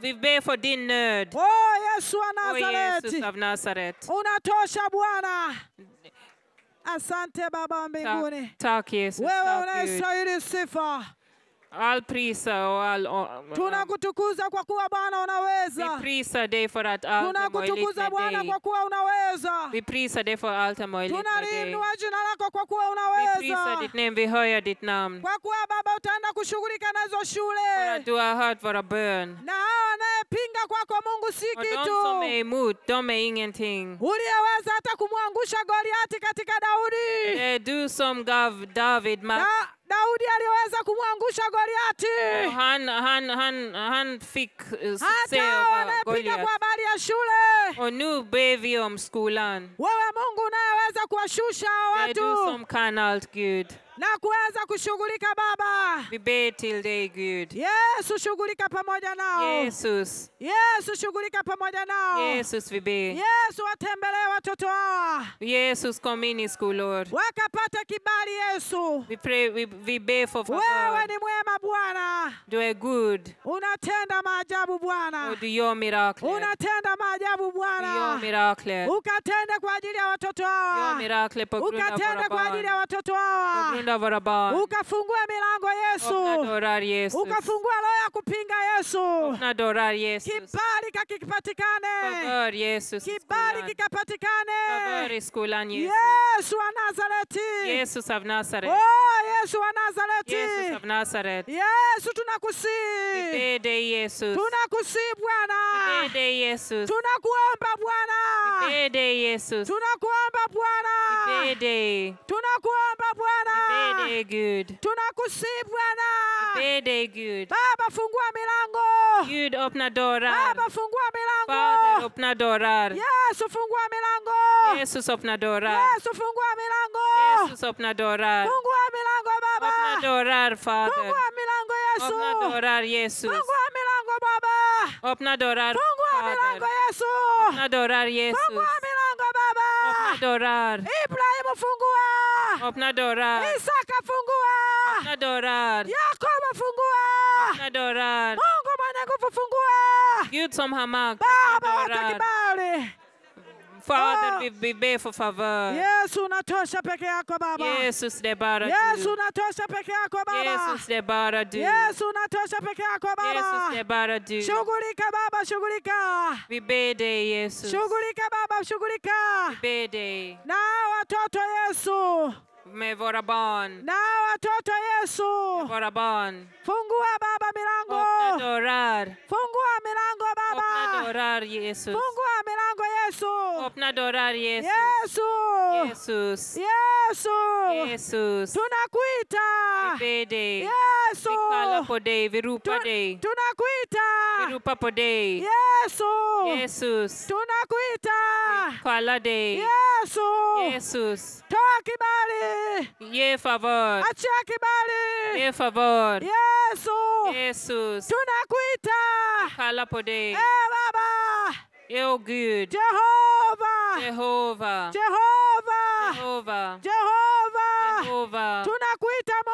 S6: Vi ber för din nöd.
S7: O Oh, Yesu wa
S6: Åh Jesus
S7: Nazareti.
S6: av Nazaret.
S7: Unatosha Bwana. Asante Baba wa mbinguni.
S6: Tack, tack Jesus,
S7: Wewe
S6: tack Gud.
S7: unayestahili sifa.
S6: All prisa och all... och-
S7: Tunakutukuza kwa kuwa Bwana
S6: Vi
S7: unaweza.
S6: prisar dig för att allt är möjligt
S7: Tunakutukuza
S6: med
S7: Bwana
S6: dig.
S7: kwa kuwa unaweza.
S6: Vi prisar dig för allt är möjligt med dig.
S7: tunaliinua jina lako kwa kuwa
S6: Vi prisar
S7: unaweza,
S6: ditt namn, vi höjer ditt namn.
S7: kwa kuwa Baba utaenda kushughulika nazo
S6: För
S7: shule
S6: att du har hört våra bön.
S7: na hao wanayepinga kwako Mungu si
S6: Och de som är
S7: kitu
S6: emot, de är ingenting.
S7: uliyeweza hata kumwangusha Goliati katika Daudi.
S4: Eh.
S6: Det är du som gav David makt.
S7: Da, Daudi aliyeweza kumwangusha
S6: Och
S7: Goliati,
S6: Han, han, han, han fick eh,
S7: hata
S6: succé
S7: hao
S6: över
S7: wanayepinga
S6: Goliat.
S7: kwa habari ya shule.
S6: Och nu ber vi om skolan.
S7: Wewe Mungu unayeweza kuwashusha hao
S6: Det är du
S7: watu
S6: som kan allt, Gud.
S7: na kuweza kushughulika Baba.
S6: Vi ber till dig, Gud.
S7: Yesu shughulika pamoja nao.
S6: Jesus,
S7: Yesu shughulika pamoja nao.
S6: Jesus, vi ber.
S7: Yesu watembelee watoto hawa
S6: Jesus, kom in i skolor.
S7: wakapata kibali. Yesu,
S6: Vi, pray, vi, vi ber för
S7: wewe
S6: favör.
S7: ni mwema Bwana,
S6: Du är god
S7: unatenda maajabu
S6: och
S7: Bwana,
S6: du gör mirakler.
S7: unatenda maajabu
S6: Du gör
S7: Bwana,
S6: mirakler.
S7: ukatende kwa ajili ya watoto
S6: Gör
S7: hawa,
S6: mirakler på grund av våra
S7: ukatende kwa ajili ya
S6: barn.
S7: watoto
S6: På
S7: hawa,
S6: grund av våra barn.
S7: ukafungue milango
S6: Öppna
S7: Yesu,
S6: dörrar, Oh, Jesus.
S7: ukafungua roho ya kupinga Yesu,
S6: Öppna dörrar, Jesus.
S7: kibali kakipatikane,
S6: Favör, Jesus, i
S7: kibali
S6: skolan. Favör
S7: kikapatikane.
S6: i skolan, Jesus.
S7: Yesu wa Nazareti.
S6: Jesus av Nazaret.
S7: Oh, Yesu wa
S6: Jesus av
S7: Nazareti.
S6: Nazaret.
S7: Yesu
S6: Vi
S7: tunakusi.
S6: ber dig, Jesus.
S7: Tunakusi
S6: Vi ber
S7: Bwana.
S6: dig, Jesus.
S7: Tunakuomba Bwana.
S6: Vi ber dig, Jesus.
S7: Tunakuomba
S6: Vi ber
S7: Bwana.
S6: dig.
S7: Tunakuomba
S6: Vi ber
S7: Bwana.
S6: dig, Gud.
S7: Tunakusi Bwana.
S6: Ber dig, Gud.
S7: Baba fungua
S4: Ah.
S7: milango.
S6: Gud, öppna dörrar.
S7: Baba fungua
S6: Fader,
S7: milango.
S6: öppna dörrar.
S7: Yesu fungua milango.
S6: Jesus, öppna dörrar.
S7: Yesu fungua
S4: ah.
S7: milango.
S6: Jesus, öppna dörrar.
S7: Fungua milango
S6: Öppna
S7: Baba.
S6: dörrar, Fader.
S7: Fungua milango
S6: Öppna
S7: Yesu.
S6: dörrar, Jesus.
S7: Fungua milango Baba.
S6: Öppna dörrar,
S7: Fungua milango
S6: Fader.
S7: Yesu.
S6: Öppna dörrar, Jesus.
S7: Fungua milango Baba.
S6: Öppna dörrar.
S7: Ibrahimu fungua.
S6: Öppna dörrar.
S7: Isaka fungua.
S6: Öppna dörrar.
S7: Yakobo fungua.
S6: Öppna dörrar.
S4: Ah.
S7: Mungu mwenye nguvu fungua.
S6: Gud som har makt,
S7: Baba
S6: öppna
S7: wapa
S6: dörrar.
S7: kibali.
S4: Fader, vi, vi ber för favör.
S6: Yesu unatosha peke yako Baba.
S4: Jesus, det är bara
S6: Yesu
S4: du.
S6: unatosha peke yako Baba.
S4: Jesus, det är bara du.
S6: Yesu unatosha peke yako
S4: Jesus, det är
S6: Baba.
S4: bara du.
S6: Shughulika Baba, shughulika.
S4: Vi ber dig, Jesus.
S6: Shughulika Baba, shughulika.
S4: ber dig
S6: Na watoto Yesu.
S4: med våra barn.
S6: Na watoto Yesu.
S4: Våra barn.
S6: Fungua Baba
S4: Öppna
S6: milango.
S4: dörrar.
S6: Fungua milango
S4: Öppna
S6: Baba.
S4: dörrar, Jesus.
S6: Fungua milango Yesu.
S4: Öppna dörrar, Jesus.
S6: Yesu.
S4: Jesus.
S6: Yesu.
S4: Jesus.
S6: Tunakuita.
S4: Vi ber dig.
S6: Yesu.
S4: Vi kallar på dig. Vi ropar
S6: Tu-
S4: dig.
S6: Tunakuita.
S4: Vi ropar på dig.
S6: Yesu.
S4: Jesus.
S6: Tunakuita.
S4: Kallar dig.
S6: Yesu.
S4: Jesus.
S6: Toa kibali.
S4: Ge favör.
S6: Achia kibali.
S4: Ge favör.
S6: Yesu.
S4: Jesus.
S6: Tunakuita.
S4: Kallar på dig.
S6: Eh Baba.
S4: Åh Gud.
S6: Jehova.
S4: Jehova.
S6: Jehova.
S4: Jehova.
S6: Jehova.
S4: Jehova.
S6: Tunakuita
S4: Vi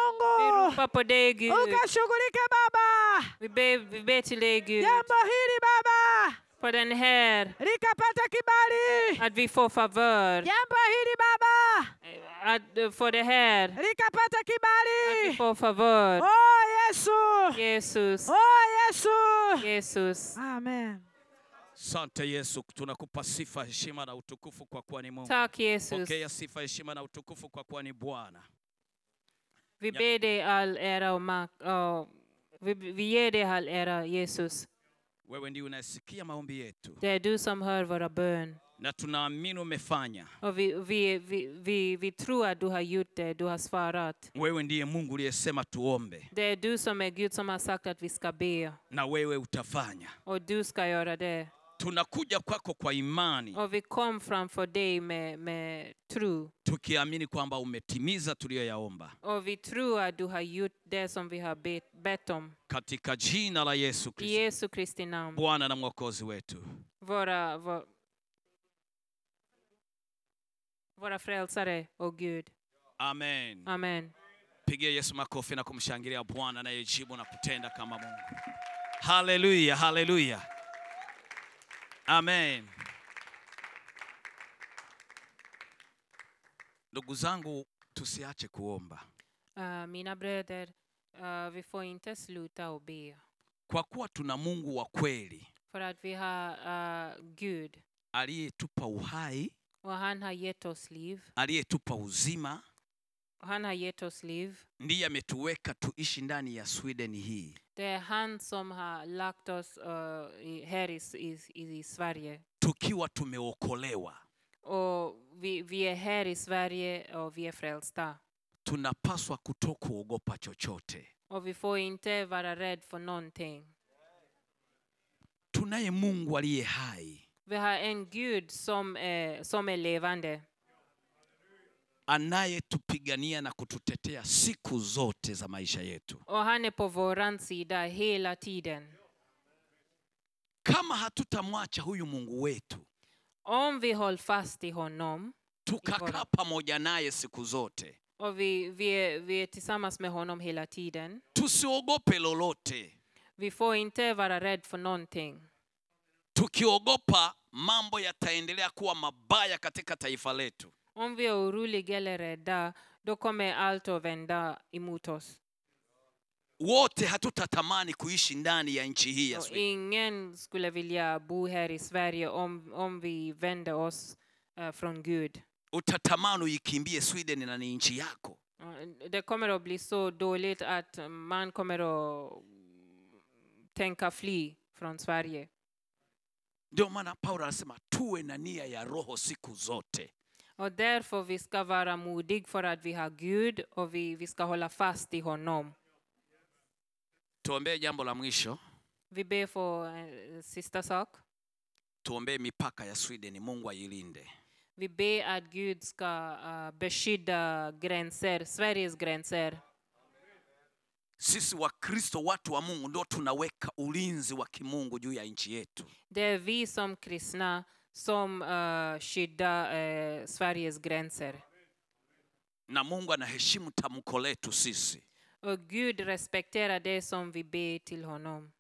S6: Mungu.
S4: ropar på dig,
S6: Oh,
S4: Gud.
S6: Ukashughulike Baba.
S4: Vi ber, vi ber till dig, Gud,
S6: Jambo hili Baba
S4: på den här,
S6: likapata kibali.
S4: att vi får favör.
S6: Jambo hili Baba
S4: Att, eh, för det här,
S6: likapata
S4: att vi
S6: kibali.
S4: får favör.
S6: Oh Yesu.
S4: Jesus,
S6: Oh Ah. Yesu.
S4: Jesus.
S6: Amen.
S9: Sante Yesu, tunakupa sifa, heshima na utukufu kwa kuwa ni Mungu.
S4: Tack Jesus.
S9: Pokea sifa, heshima na utukufu kwa kuwa ni Bwana.
S4: Vi ber dig all ära och makt. ja, vi, vi ger dig all ära, Jesus.
S9: Wewe ndiye unasikia maombi yetu
S4: Det är du som hör våra bön.
S9: na tunaamini umefanya.
S4: Och vi, vi, vi, vi, vi tror att du har gjort det, du har svarat.
S9: Wewe ndiye Mungu uliyesema tuombe,
S4: Det är du som är Gud som har sagt att vi ska be.
S9: na wewe utafanya.
S4: Och du ska göra det.
S9: Tunakuja kwako kwa imani,
S4: Och vi kom framför dig med, med tro.
S9: tukiamini kwamba umetimiza tuliyoyaomba,
S4: Och vi tror att du har gjort det som vi har bett, bett om.
S9: katika jina la Yesu
S4: I
S9: Kristo,
S4: Jesu Kristi namn.
S9: Bwana na Mwokozi wetu.
S4: Våra, vår, våra frälsare och Gud.
S9: Amen.
S4: Amen.
S9: Pigie Yesu makofi na kumshangilia Bwana anayejibu na kutenda kama Mungu. Haleluya, haleluya, amen. Ndugu zangu, tusiache kuomba,
S4: Ah, mina bröder, ah, vi får inte sluta att be.
S9: kwa kuwa tuna Mungu wa kweli
S4: För att vi har ah, Gud.
S9: aliyetupa uhai,
S4: Och han har gett oss liv.
S9: aliyetupa uzima,
S4: Och han har gett oss liv.
S9: ndiye ametuweka tuishi ndani ya Sweden hii.
S4: Det är han som har lagt oss eh, i, här i, s- i, i Sverige.
S9: Tukiwa tumeokolewa,
S4: Och vi, vi är här i Sverige och vi är frälsta.
S9: tunapaswa kutokuogopa chochote.
S4: Och vi får inte vara rädd för någonting.
S9: Tunaye Mungu aliye hai
S4: Vi har en Gud som är, som är levande.
S9: anayetupigania na kututetea siku zote za maisha yetu.
S4: Och han är på våran sida hela tiden.
S9: Kama hatutamwacha huyu Mungu wetu,
S4: Om vi håller fast i honom
S9: tukakaa pamoja naye siku zote,
S4: och vi, vi, är, vi är tillsammans med honom hela tiden.
S9: tusiogope lolote.
S4: Vi får inte vara rädd för någonting.
S9: Tukiogopa, mambo yataendelea kuwa mabaya katika taifa letu.
S4: Om vi är oroliga eller rädda, då kommer allt att vända emot oss.
S9: Wote hatutatamani kuishi ndani ya nchi hii ya
S4: Och
S9: Sweden.
S4: ingen skulle vilja bo här i Sverige om, om vi vänder oss eh, från Gud.
S9: Utatamani uikimbie Sweden na ni nchi yako.
S4: Eh, Det kommer att bli så dåligt att man kommer att tänka fly från Sverige.
S9: Ndio maana Paulo anasema tuwe na nia ya roho siku zote.
S4: Och därför vi ska vara modiga för att vi har Gud och vi, vi ska hålla fast i honom.
S9: Tuombee jambo la mwisho.
S4: Vi ber för eh, sista sak.
S9: tuombee mipaka ya Sweden, Mungu ailinde.
S4: Vi ber att Gud ska eh, beskydda gränser, Sveriges gränser.
S9: Sisi Wakristo, watu wa Mungu, ndio tunaweka ulinzi wa kimungu juu ya nchi yetu.
S4: Det är vi som kristna som uh, skyddar eh, Sveriges gränser.
S9: Na Mungu anaheshimu tamko letu sisi.
S4: Och Gud respekterar det som vi ber till honom.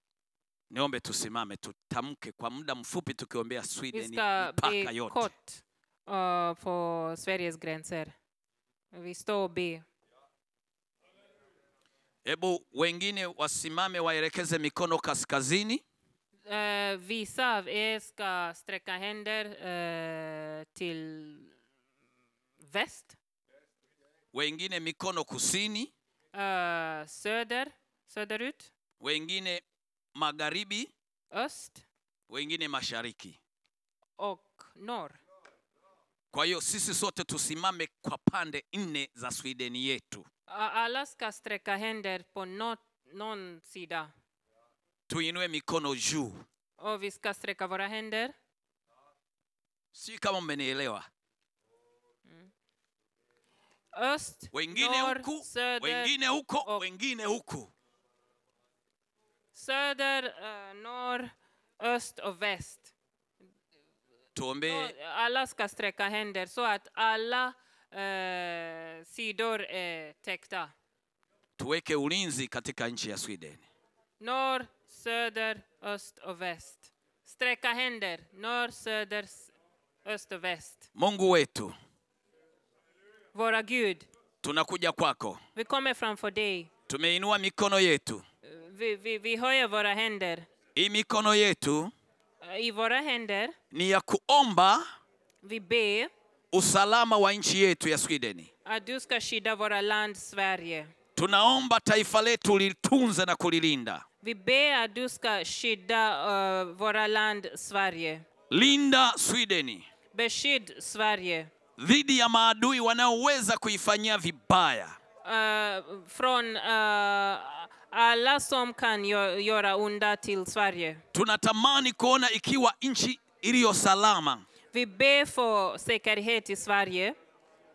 S9: niombe tusimame tutamke kwa muda mfupi tukiombea
S4: Vi
S9: sweden
S4: ska
S9: mipaka
S4: be
S9: yote
S4: kort eh, på Sveriges gränser. Vi står och ber.
S9: hebu wengine wasimame waelekeze mikono kaskazini
S4: Eh, vissa av er ska sträcka händer eh, till väst,
S9: wengine mikono kusini
S4: eh, söder, söderut,
S9: wengine magharibi
S4: öst
S9: wengine mashariki
S4: och norr.
S9: kwa hiyo sisi sote tusimame kwa pande nne za swideni yetu
S4: A- Alla ska sträcka händer på nå- någon sida.
S9: tuinue mikono juu
S4: Och vi ska sträcka våra händer.
S9: sijui kama mmenielewa
S4: Öst,
S9: wengine
S4: norr,
S9: huku
S4: söder,
S9: wengine huko
S4: och-
S9: wengine huku
S4: söder, eh, norr, öst och väst.
S9: tuombee
S4: Så Alla ska sträcka händer så att alla eh, sidor är täckta.
S9: tuweke ulinzi katika nchi ya sweden
S4: Norr, söder, öst och väst. Sträcka händer. Norr, söder, s- öst och väst.
S9: mungu wetu
S4: Våra Gud,
S9: tunakuja kwako
S4: vi kommer framför dig.
S9: tumeinua mikono yetu
S4: Eh, Vi, vi, vi höjer våra händer.
S9: hii mikono yetu
S4: Eh, I våra händer,
S9: ni ya kuomba
S4: vi ber
S9: usalama wa nchi yetu ya sweden
S4: att du ska skydda våra land Sverige.
S9: tunaomba taifa letu litunze na kulilinda
S4: Vi ber att du ska skydda eh, våra land Sverige.
S9: linda sweden
S4: Beskydd Sverige.
S9: dhidi ya maadui wanaoweza kuifanyia vibaya
S4: eh, från eh, alla som kan gö- göra onda till Sverige.
S9: tunatamani kuona ikiwa nchi iliyo salama
S4: Vi ber för säkerhet i Sverige.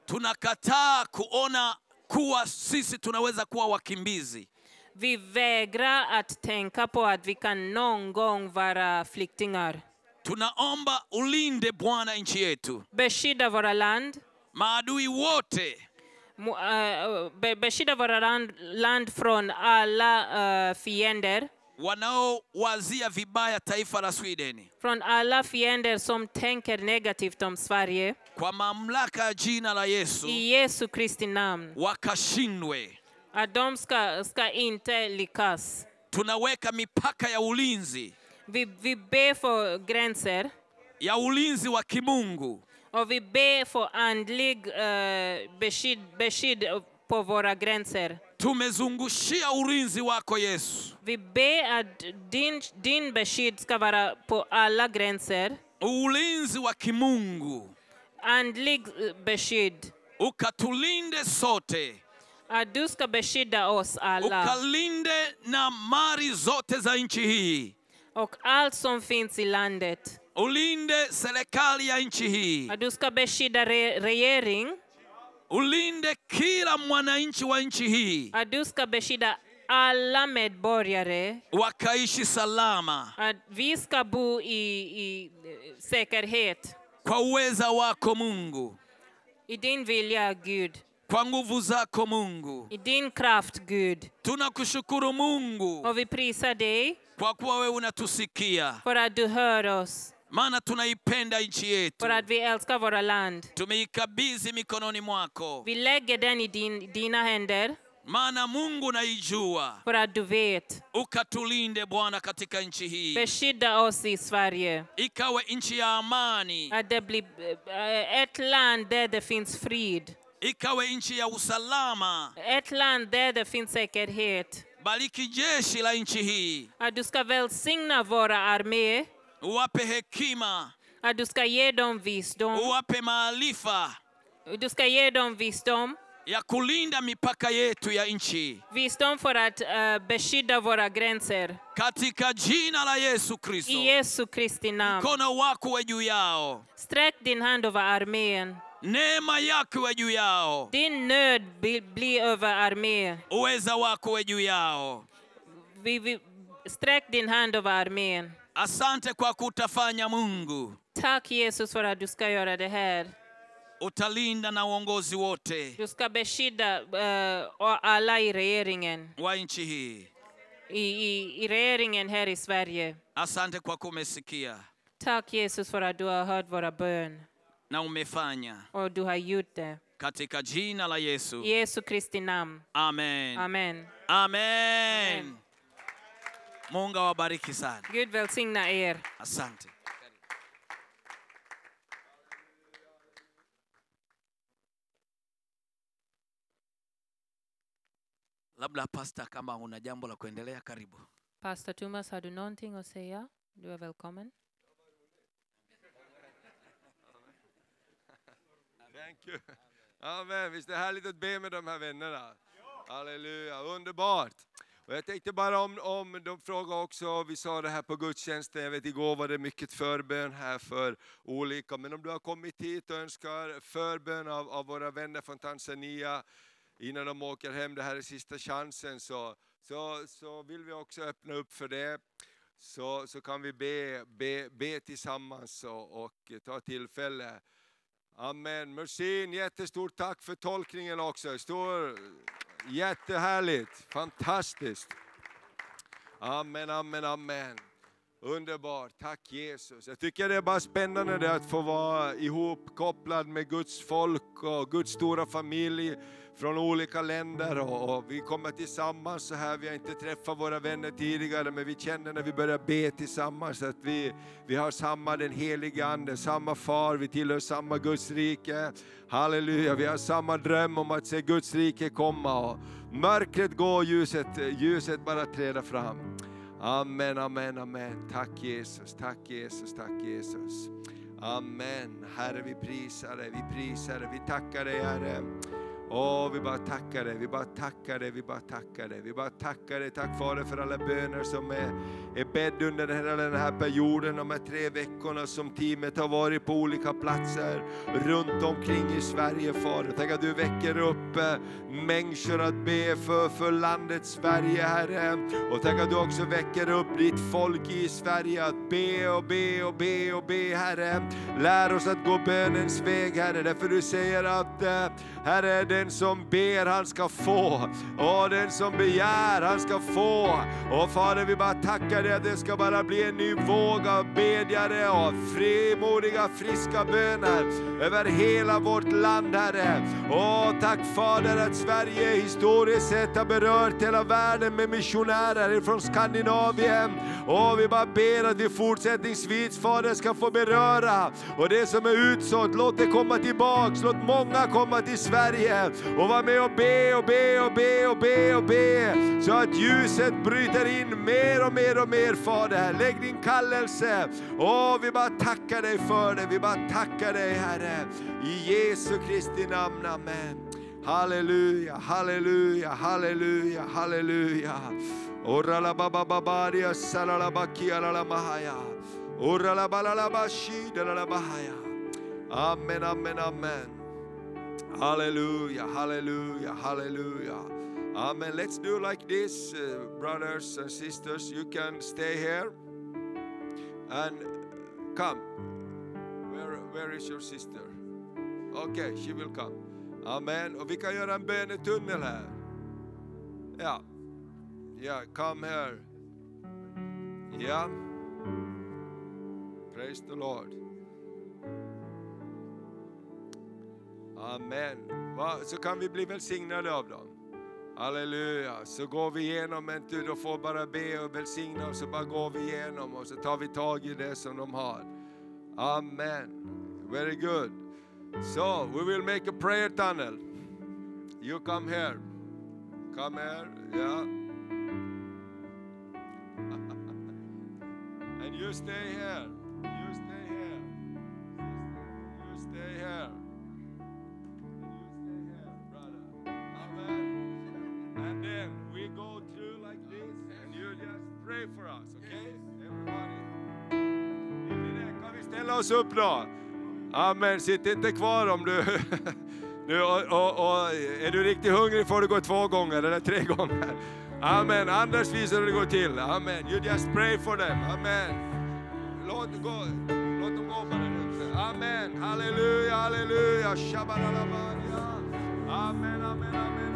S9: tunakataa kuona kuwa sisi tunaweza kuwa wakimbizi
S4: Vi vägrar att tänka på att vi kan någon gång vara flyktingar.
S9: tunaomba ulinde bwana nchi yetu
S4: Beskydda våra land.
S9: maadui wote
S4: mo- eh, be- Beskydda våra land, land från alla eh, fiender.
S9: wanaowazia vibaya taifa la swideni
S4: Från alla fiender som tänker negativt om Sverige.
S9: kwa mamlaka ya jina la yesu
S4: I Jesu Kristi namn.
S9: wakashindwe
S4: Att de ska, ska inte lyckas.
S9: tunaweka mipaka ya ulinzi
S4: Vi, vi ber för gränser
S9: ya ulinzi wa kimungu
S4: och vi ber för andlig eh, beskydd, beskydd på våra gränser.
S9: tumezungushia ulinzi wako yesu
S4: Vi ber att din, din beskydd ska vara på alla gränser.
S9: ulinzi wa kimungu
S4: Andlig eh, beskydd.
S9: ukatulinde sote
S4: Att du ska beskydda oss alla
S9: ukalinde na mali zote za nchi hii
S4: och allt som finns i landet.
S9: ulinde serikali ya nchi hii
S4: Att du ska beskydda re, regering.
S9: ulinde kila mwananchi wa nchi hii
S4: Att du ska beskydda alla medborgare.
S9: wakaishi salama
S4: Att vi ska bo i, i eh, säkerhet.
S9: kwa uweza wako mungu
S4: I din vilja, Gud.
S9: kwa nguvu zako mungu
S4: I din kraft, Gud.
S9: tunakushukuru mungu
S4: Och vi prisar dig
S9: kwa kuwa wewe unatusikia
S4: för att du hör oss,
S9: maana tunaipenda nchi yetu
S4: för att vi älskar våra land.
S9: tumeikabidhi mikononi mwako
S4: Vi lägger den i din, dina händer
S9: maana mungu unaijua
S4: för att du vet.
S9: ukatulinde bwana katika nchi hii
S4: Beskydda oss i Sverige.
S9: ikawe nchi ya amani
S4: Att det blir eh, ett land där det finns frid.
S9: ikawe nchi ya usalama
S4: Ett land där det finns säkerhet.
S9: bariki jeshi la nchi hii
S4: Att du ska välsigna våra armé.
S9: uwape hekima
S4: Att du ska ge dem visdom.
S9: uwape maarifa
S4: Du ska ge dem visdom.
S9: ya kulinda mipaka yetu ya nchi
S4: Visdom för att eh, beskydda våra gränser.
S9: katika jina la yesu
S4: I
S9: kristo
S4: Jesu Kristi namn.
S9: mkono wako we juu yao
S4: Sträck din hand över armén.
S9: neema yako we juu yao
S4: Din nöd bli- blir över armén.
S9: uweza wako we juu yao
S4: Vi, vi, sträck din hand över armén.
S9: asante kwa kutafanya mungu
S4: Tack Jesus för att du ska göra det här.
S9: utalinda na uongozi wote
S4: Du ska beskydda eh, och alla i regeringen,
S9: wa nchi hii
S4: i, i, i regeringen här i Sverige.
S9: Asante kwa kumesikia
S4: Tack Jesus för att du har hört våra bön
S9: na umefanya
S4: och du har gjort det.
S9: katika jina la Yesu.
S4: I Jesu Kristi namn.
S9: Amen.
S4: Amen.
S9: Amen.
S4: Amen.
S9: Mungu awabariki sana.
S4: Gud välsigna er.
S9: Asante. Labda pasta, kama una jambo la kuendelea, karibu.
S4: Pastor Thomas, har du någonting att säga? Du är välkommen.
S1: Thank you. Amen. Visst är det härligt att be med de här vännerna? Halleluja, underbart. Och jag tänkte bara om, om de frågade också, vi sa det här på gudstjänsten, jag vet igår var det mycket förbön här för olika, men om du har kommit hit och önskar förbön av, av våra vänner från Tanzania innan de åker hem, det här är sista chansen, så, så, så vill vi också öppna upp för det så, så kan vi be, be, be tillsammans och, och ta tillfälle. Amen. Mersin, jättestort tack för tolkningen också. Stor, jättehärligt, fantastiskt. Amen, amen, amen. Underbart, tack Jesus. Jag tycker det är bara spännande det att få vara ihopkopplad med Guds folk och Guds stora familj från olika länder. Och, och vi kommer tillsammans så här, vi har inte träffat våra vänner tidigare men vi känner när vi börjar be tillsammans att vi, vi har samma den heliga Ande, samma far, vi tillhör samma Guds rike. Halleluja, vi har samma dröm om att se Guds rike komma. Och mörkret går och ljuset, ljuset bara träder fram. Amen, amen, amen. Tack Jesus, tack Jesus, tack Jesus. Amen. Herre, vi prisar dig, vi prisar dig, vi tackar dig Herre. Åh, vi bara tackar dig, vi bara tackar dig, vi bara tackar dig. Vi bara tackar dig, tack Fader för alla böner som är, är bedd under hela den här perioden, de här tre veckorna som teamet har varit på olika platser runt omkring i Sverige Fader. Tack att du väcker upp eh, människor att be för, för landet Sverige Herre. Och tack att du också väcker upp ditt folk i Sverige att be och be och be och be Herre. Lär oss att gå bönens väg Herre, därför du säger att eh, Herre, den som ber han ska få och den som begär han ska få. Och Fader, vi bara tackar dig att det ska bara bli en ny våg av bedjare och frimodiga, friska böner över hela vårt land, Herre. Åh, tack Fader att Sverige historiskt sett har berört hela världen med missionärer från Skandinavien. Åh, vi bara ber att vi fortsättningsvis, Fader, ska få beröra. Och det som är utsått, låt det komma tillbaks. Låt många komma till Sverige och vara med och be och be och be och be och be. Så att ljuset bryter in mer och mer och mer, Fader. Lägg din kallelse. Åh, vi bara tackar dig för det. Vi bara tackar dig, Herre. I Jesu Kristi namn, amen. Halleluja, halleluja, halleluja, halleluja. Oralababababaria salalabakialalamahaya. Oralabalalabashi-dalalabahaya. Amen, amen, amen. Hallelujah, hallelujah, hallelujah. Amen. Let's do like this, uh, brothers and sisters. You can stay here and come. Where, where is your sister? Okej, she will come. Amen. Och vi kan göra en bönetunnel här. Ja, ja, come here. Ja. Praise the Lord. Amen. Va? Så kan vi bli välsignade av dem. Halleluja. Så går vi igenom en tur, då får bara be och välsigna och så bara går vi igenom och så tar vi tag i det som de har. Amen. Very good. So, we will make a prayer tunnel. You come here. Come here, yeah. And you stay here. You stay here. You stay here. And you stay here, brother. Amen. And then we go through like this, and you just pray for us, okay? Everybody. Vill ni det? Kan vi ställa oss upp då? Amen. Sitt inte kvar om du... Nu, och, och, och, är du riktigt hungrig får du gå två gånger eller tre gånger. Amen. Anders visar hur det går till. Amen. You just pray for them. Amen. Låt, gå, låt dem gå på den uppsen. Amen, halleluja, halleluja, shabbalalabadia. Amen, amen, amen,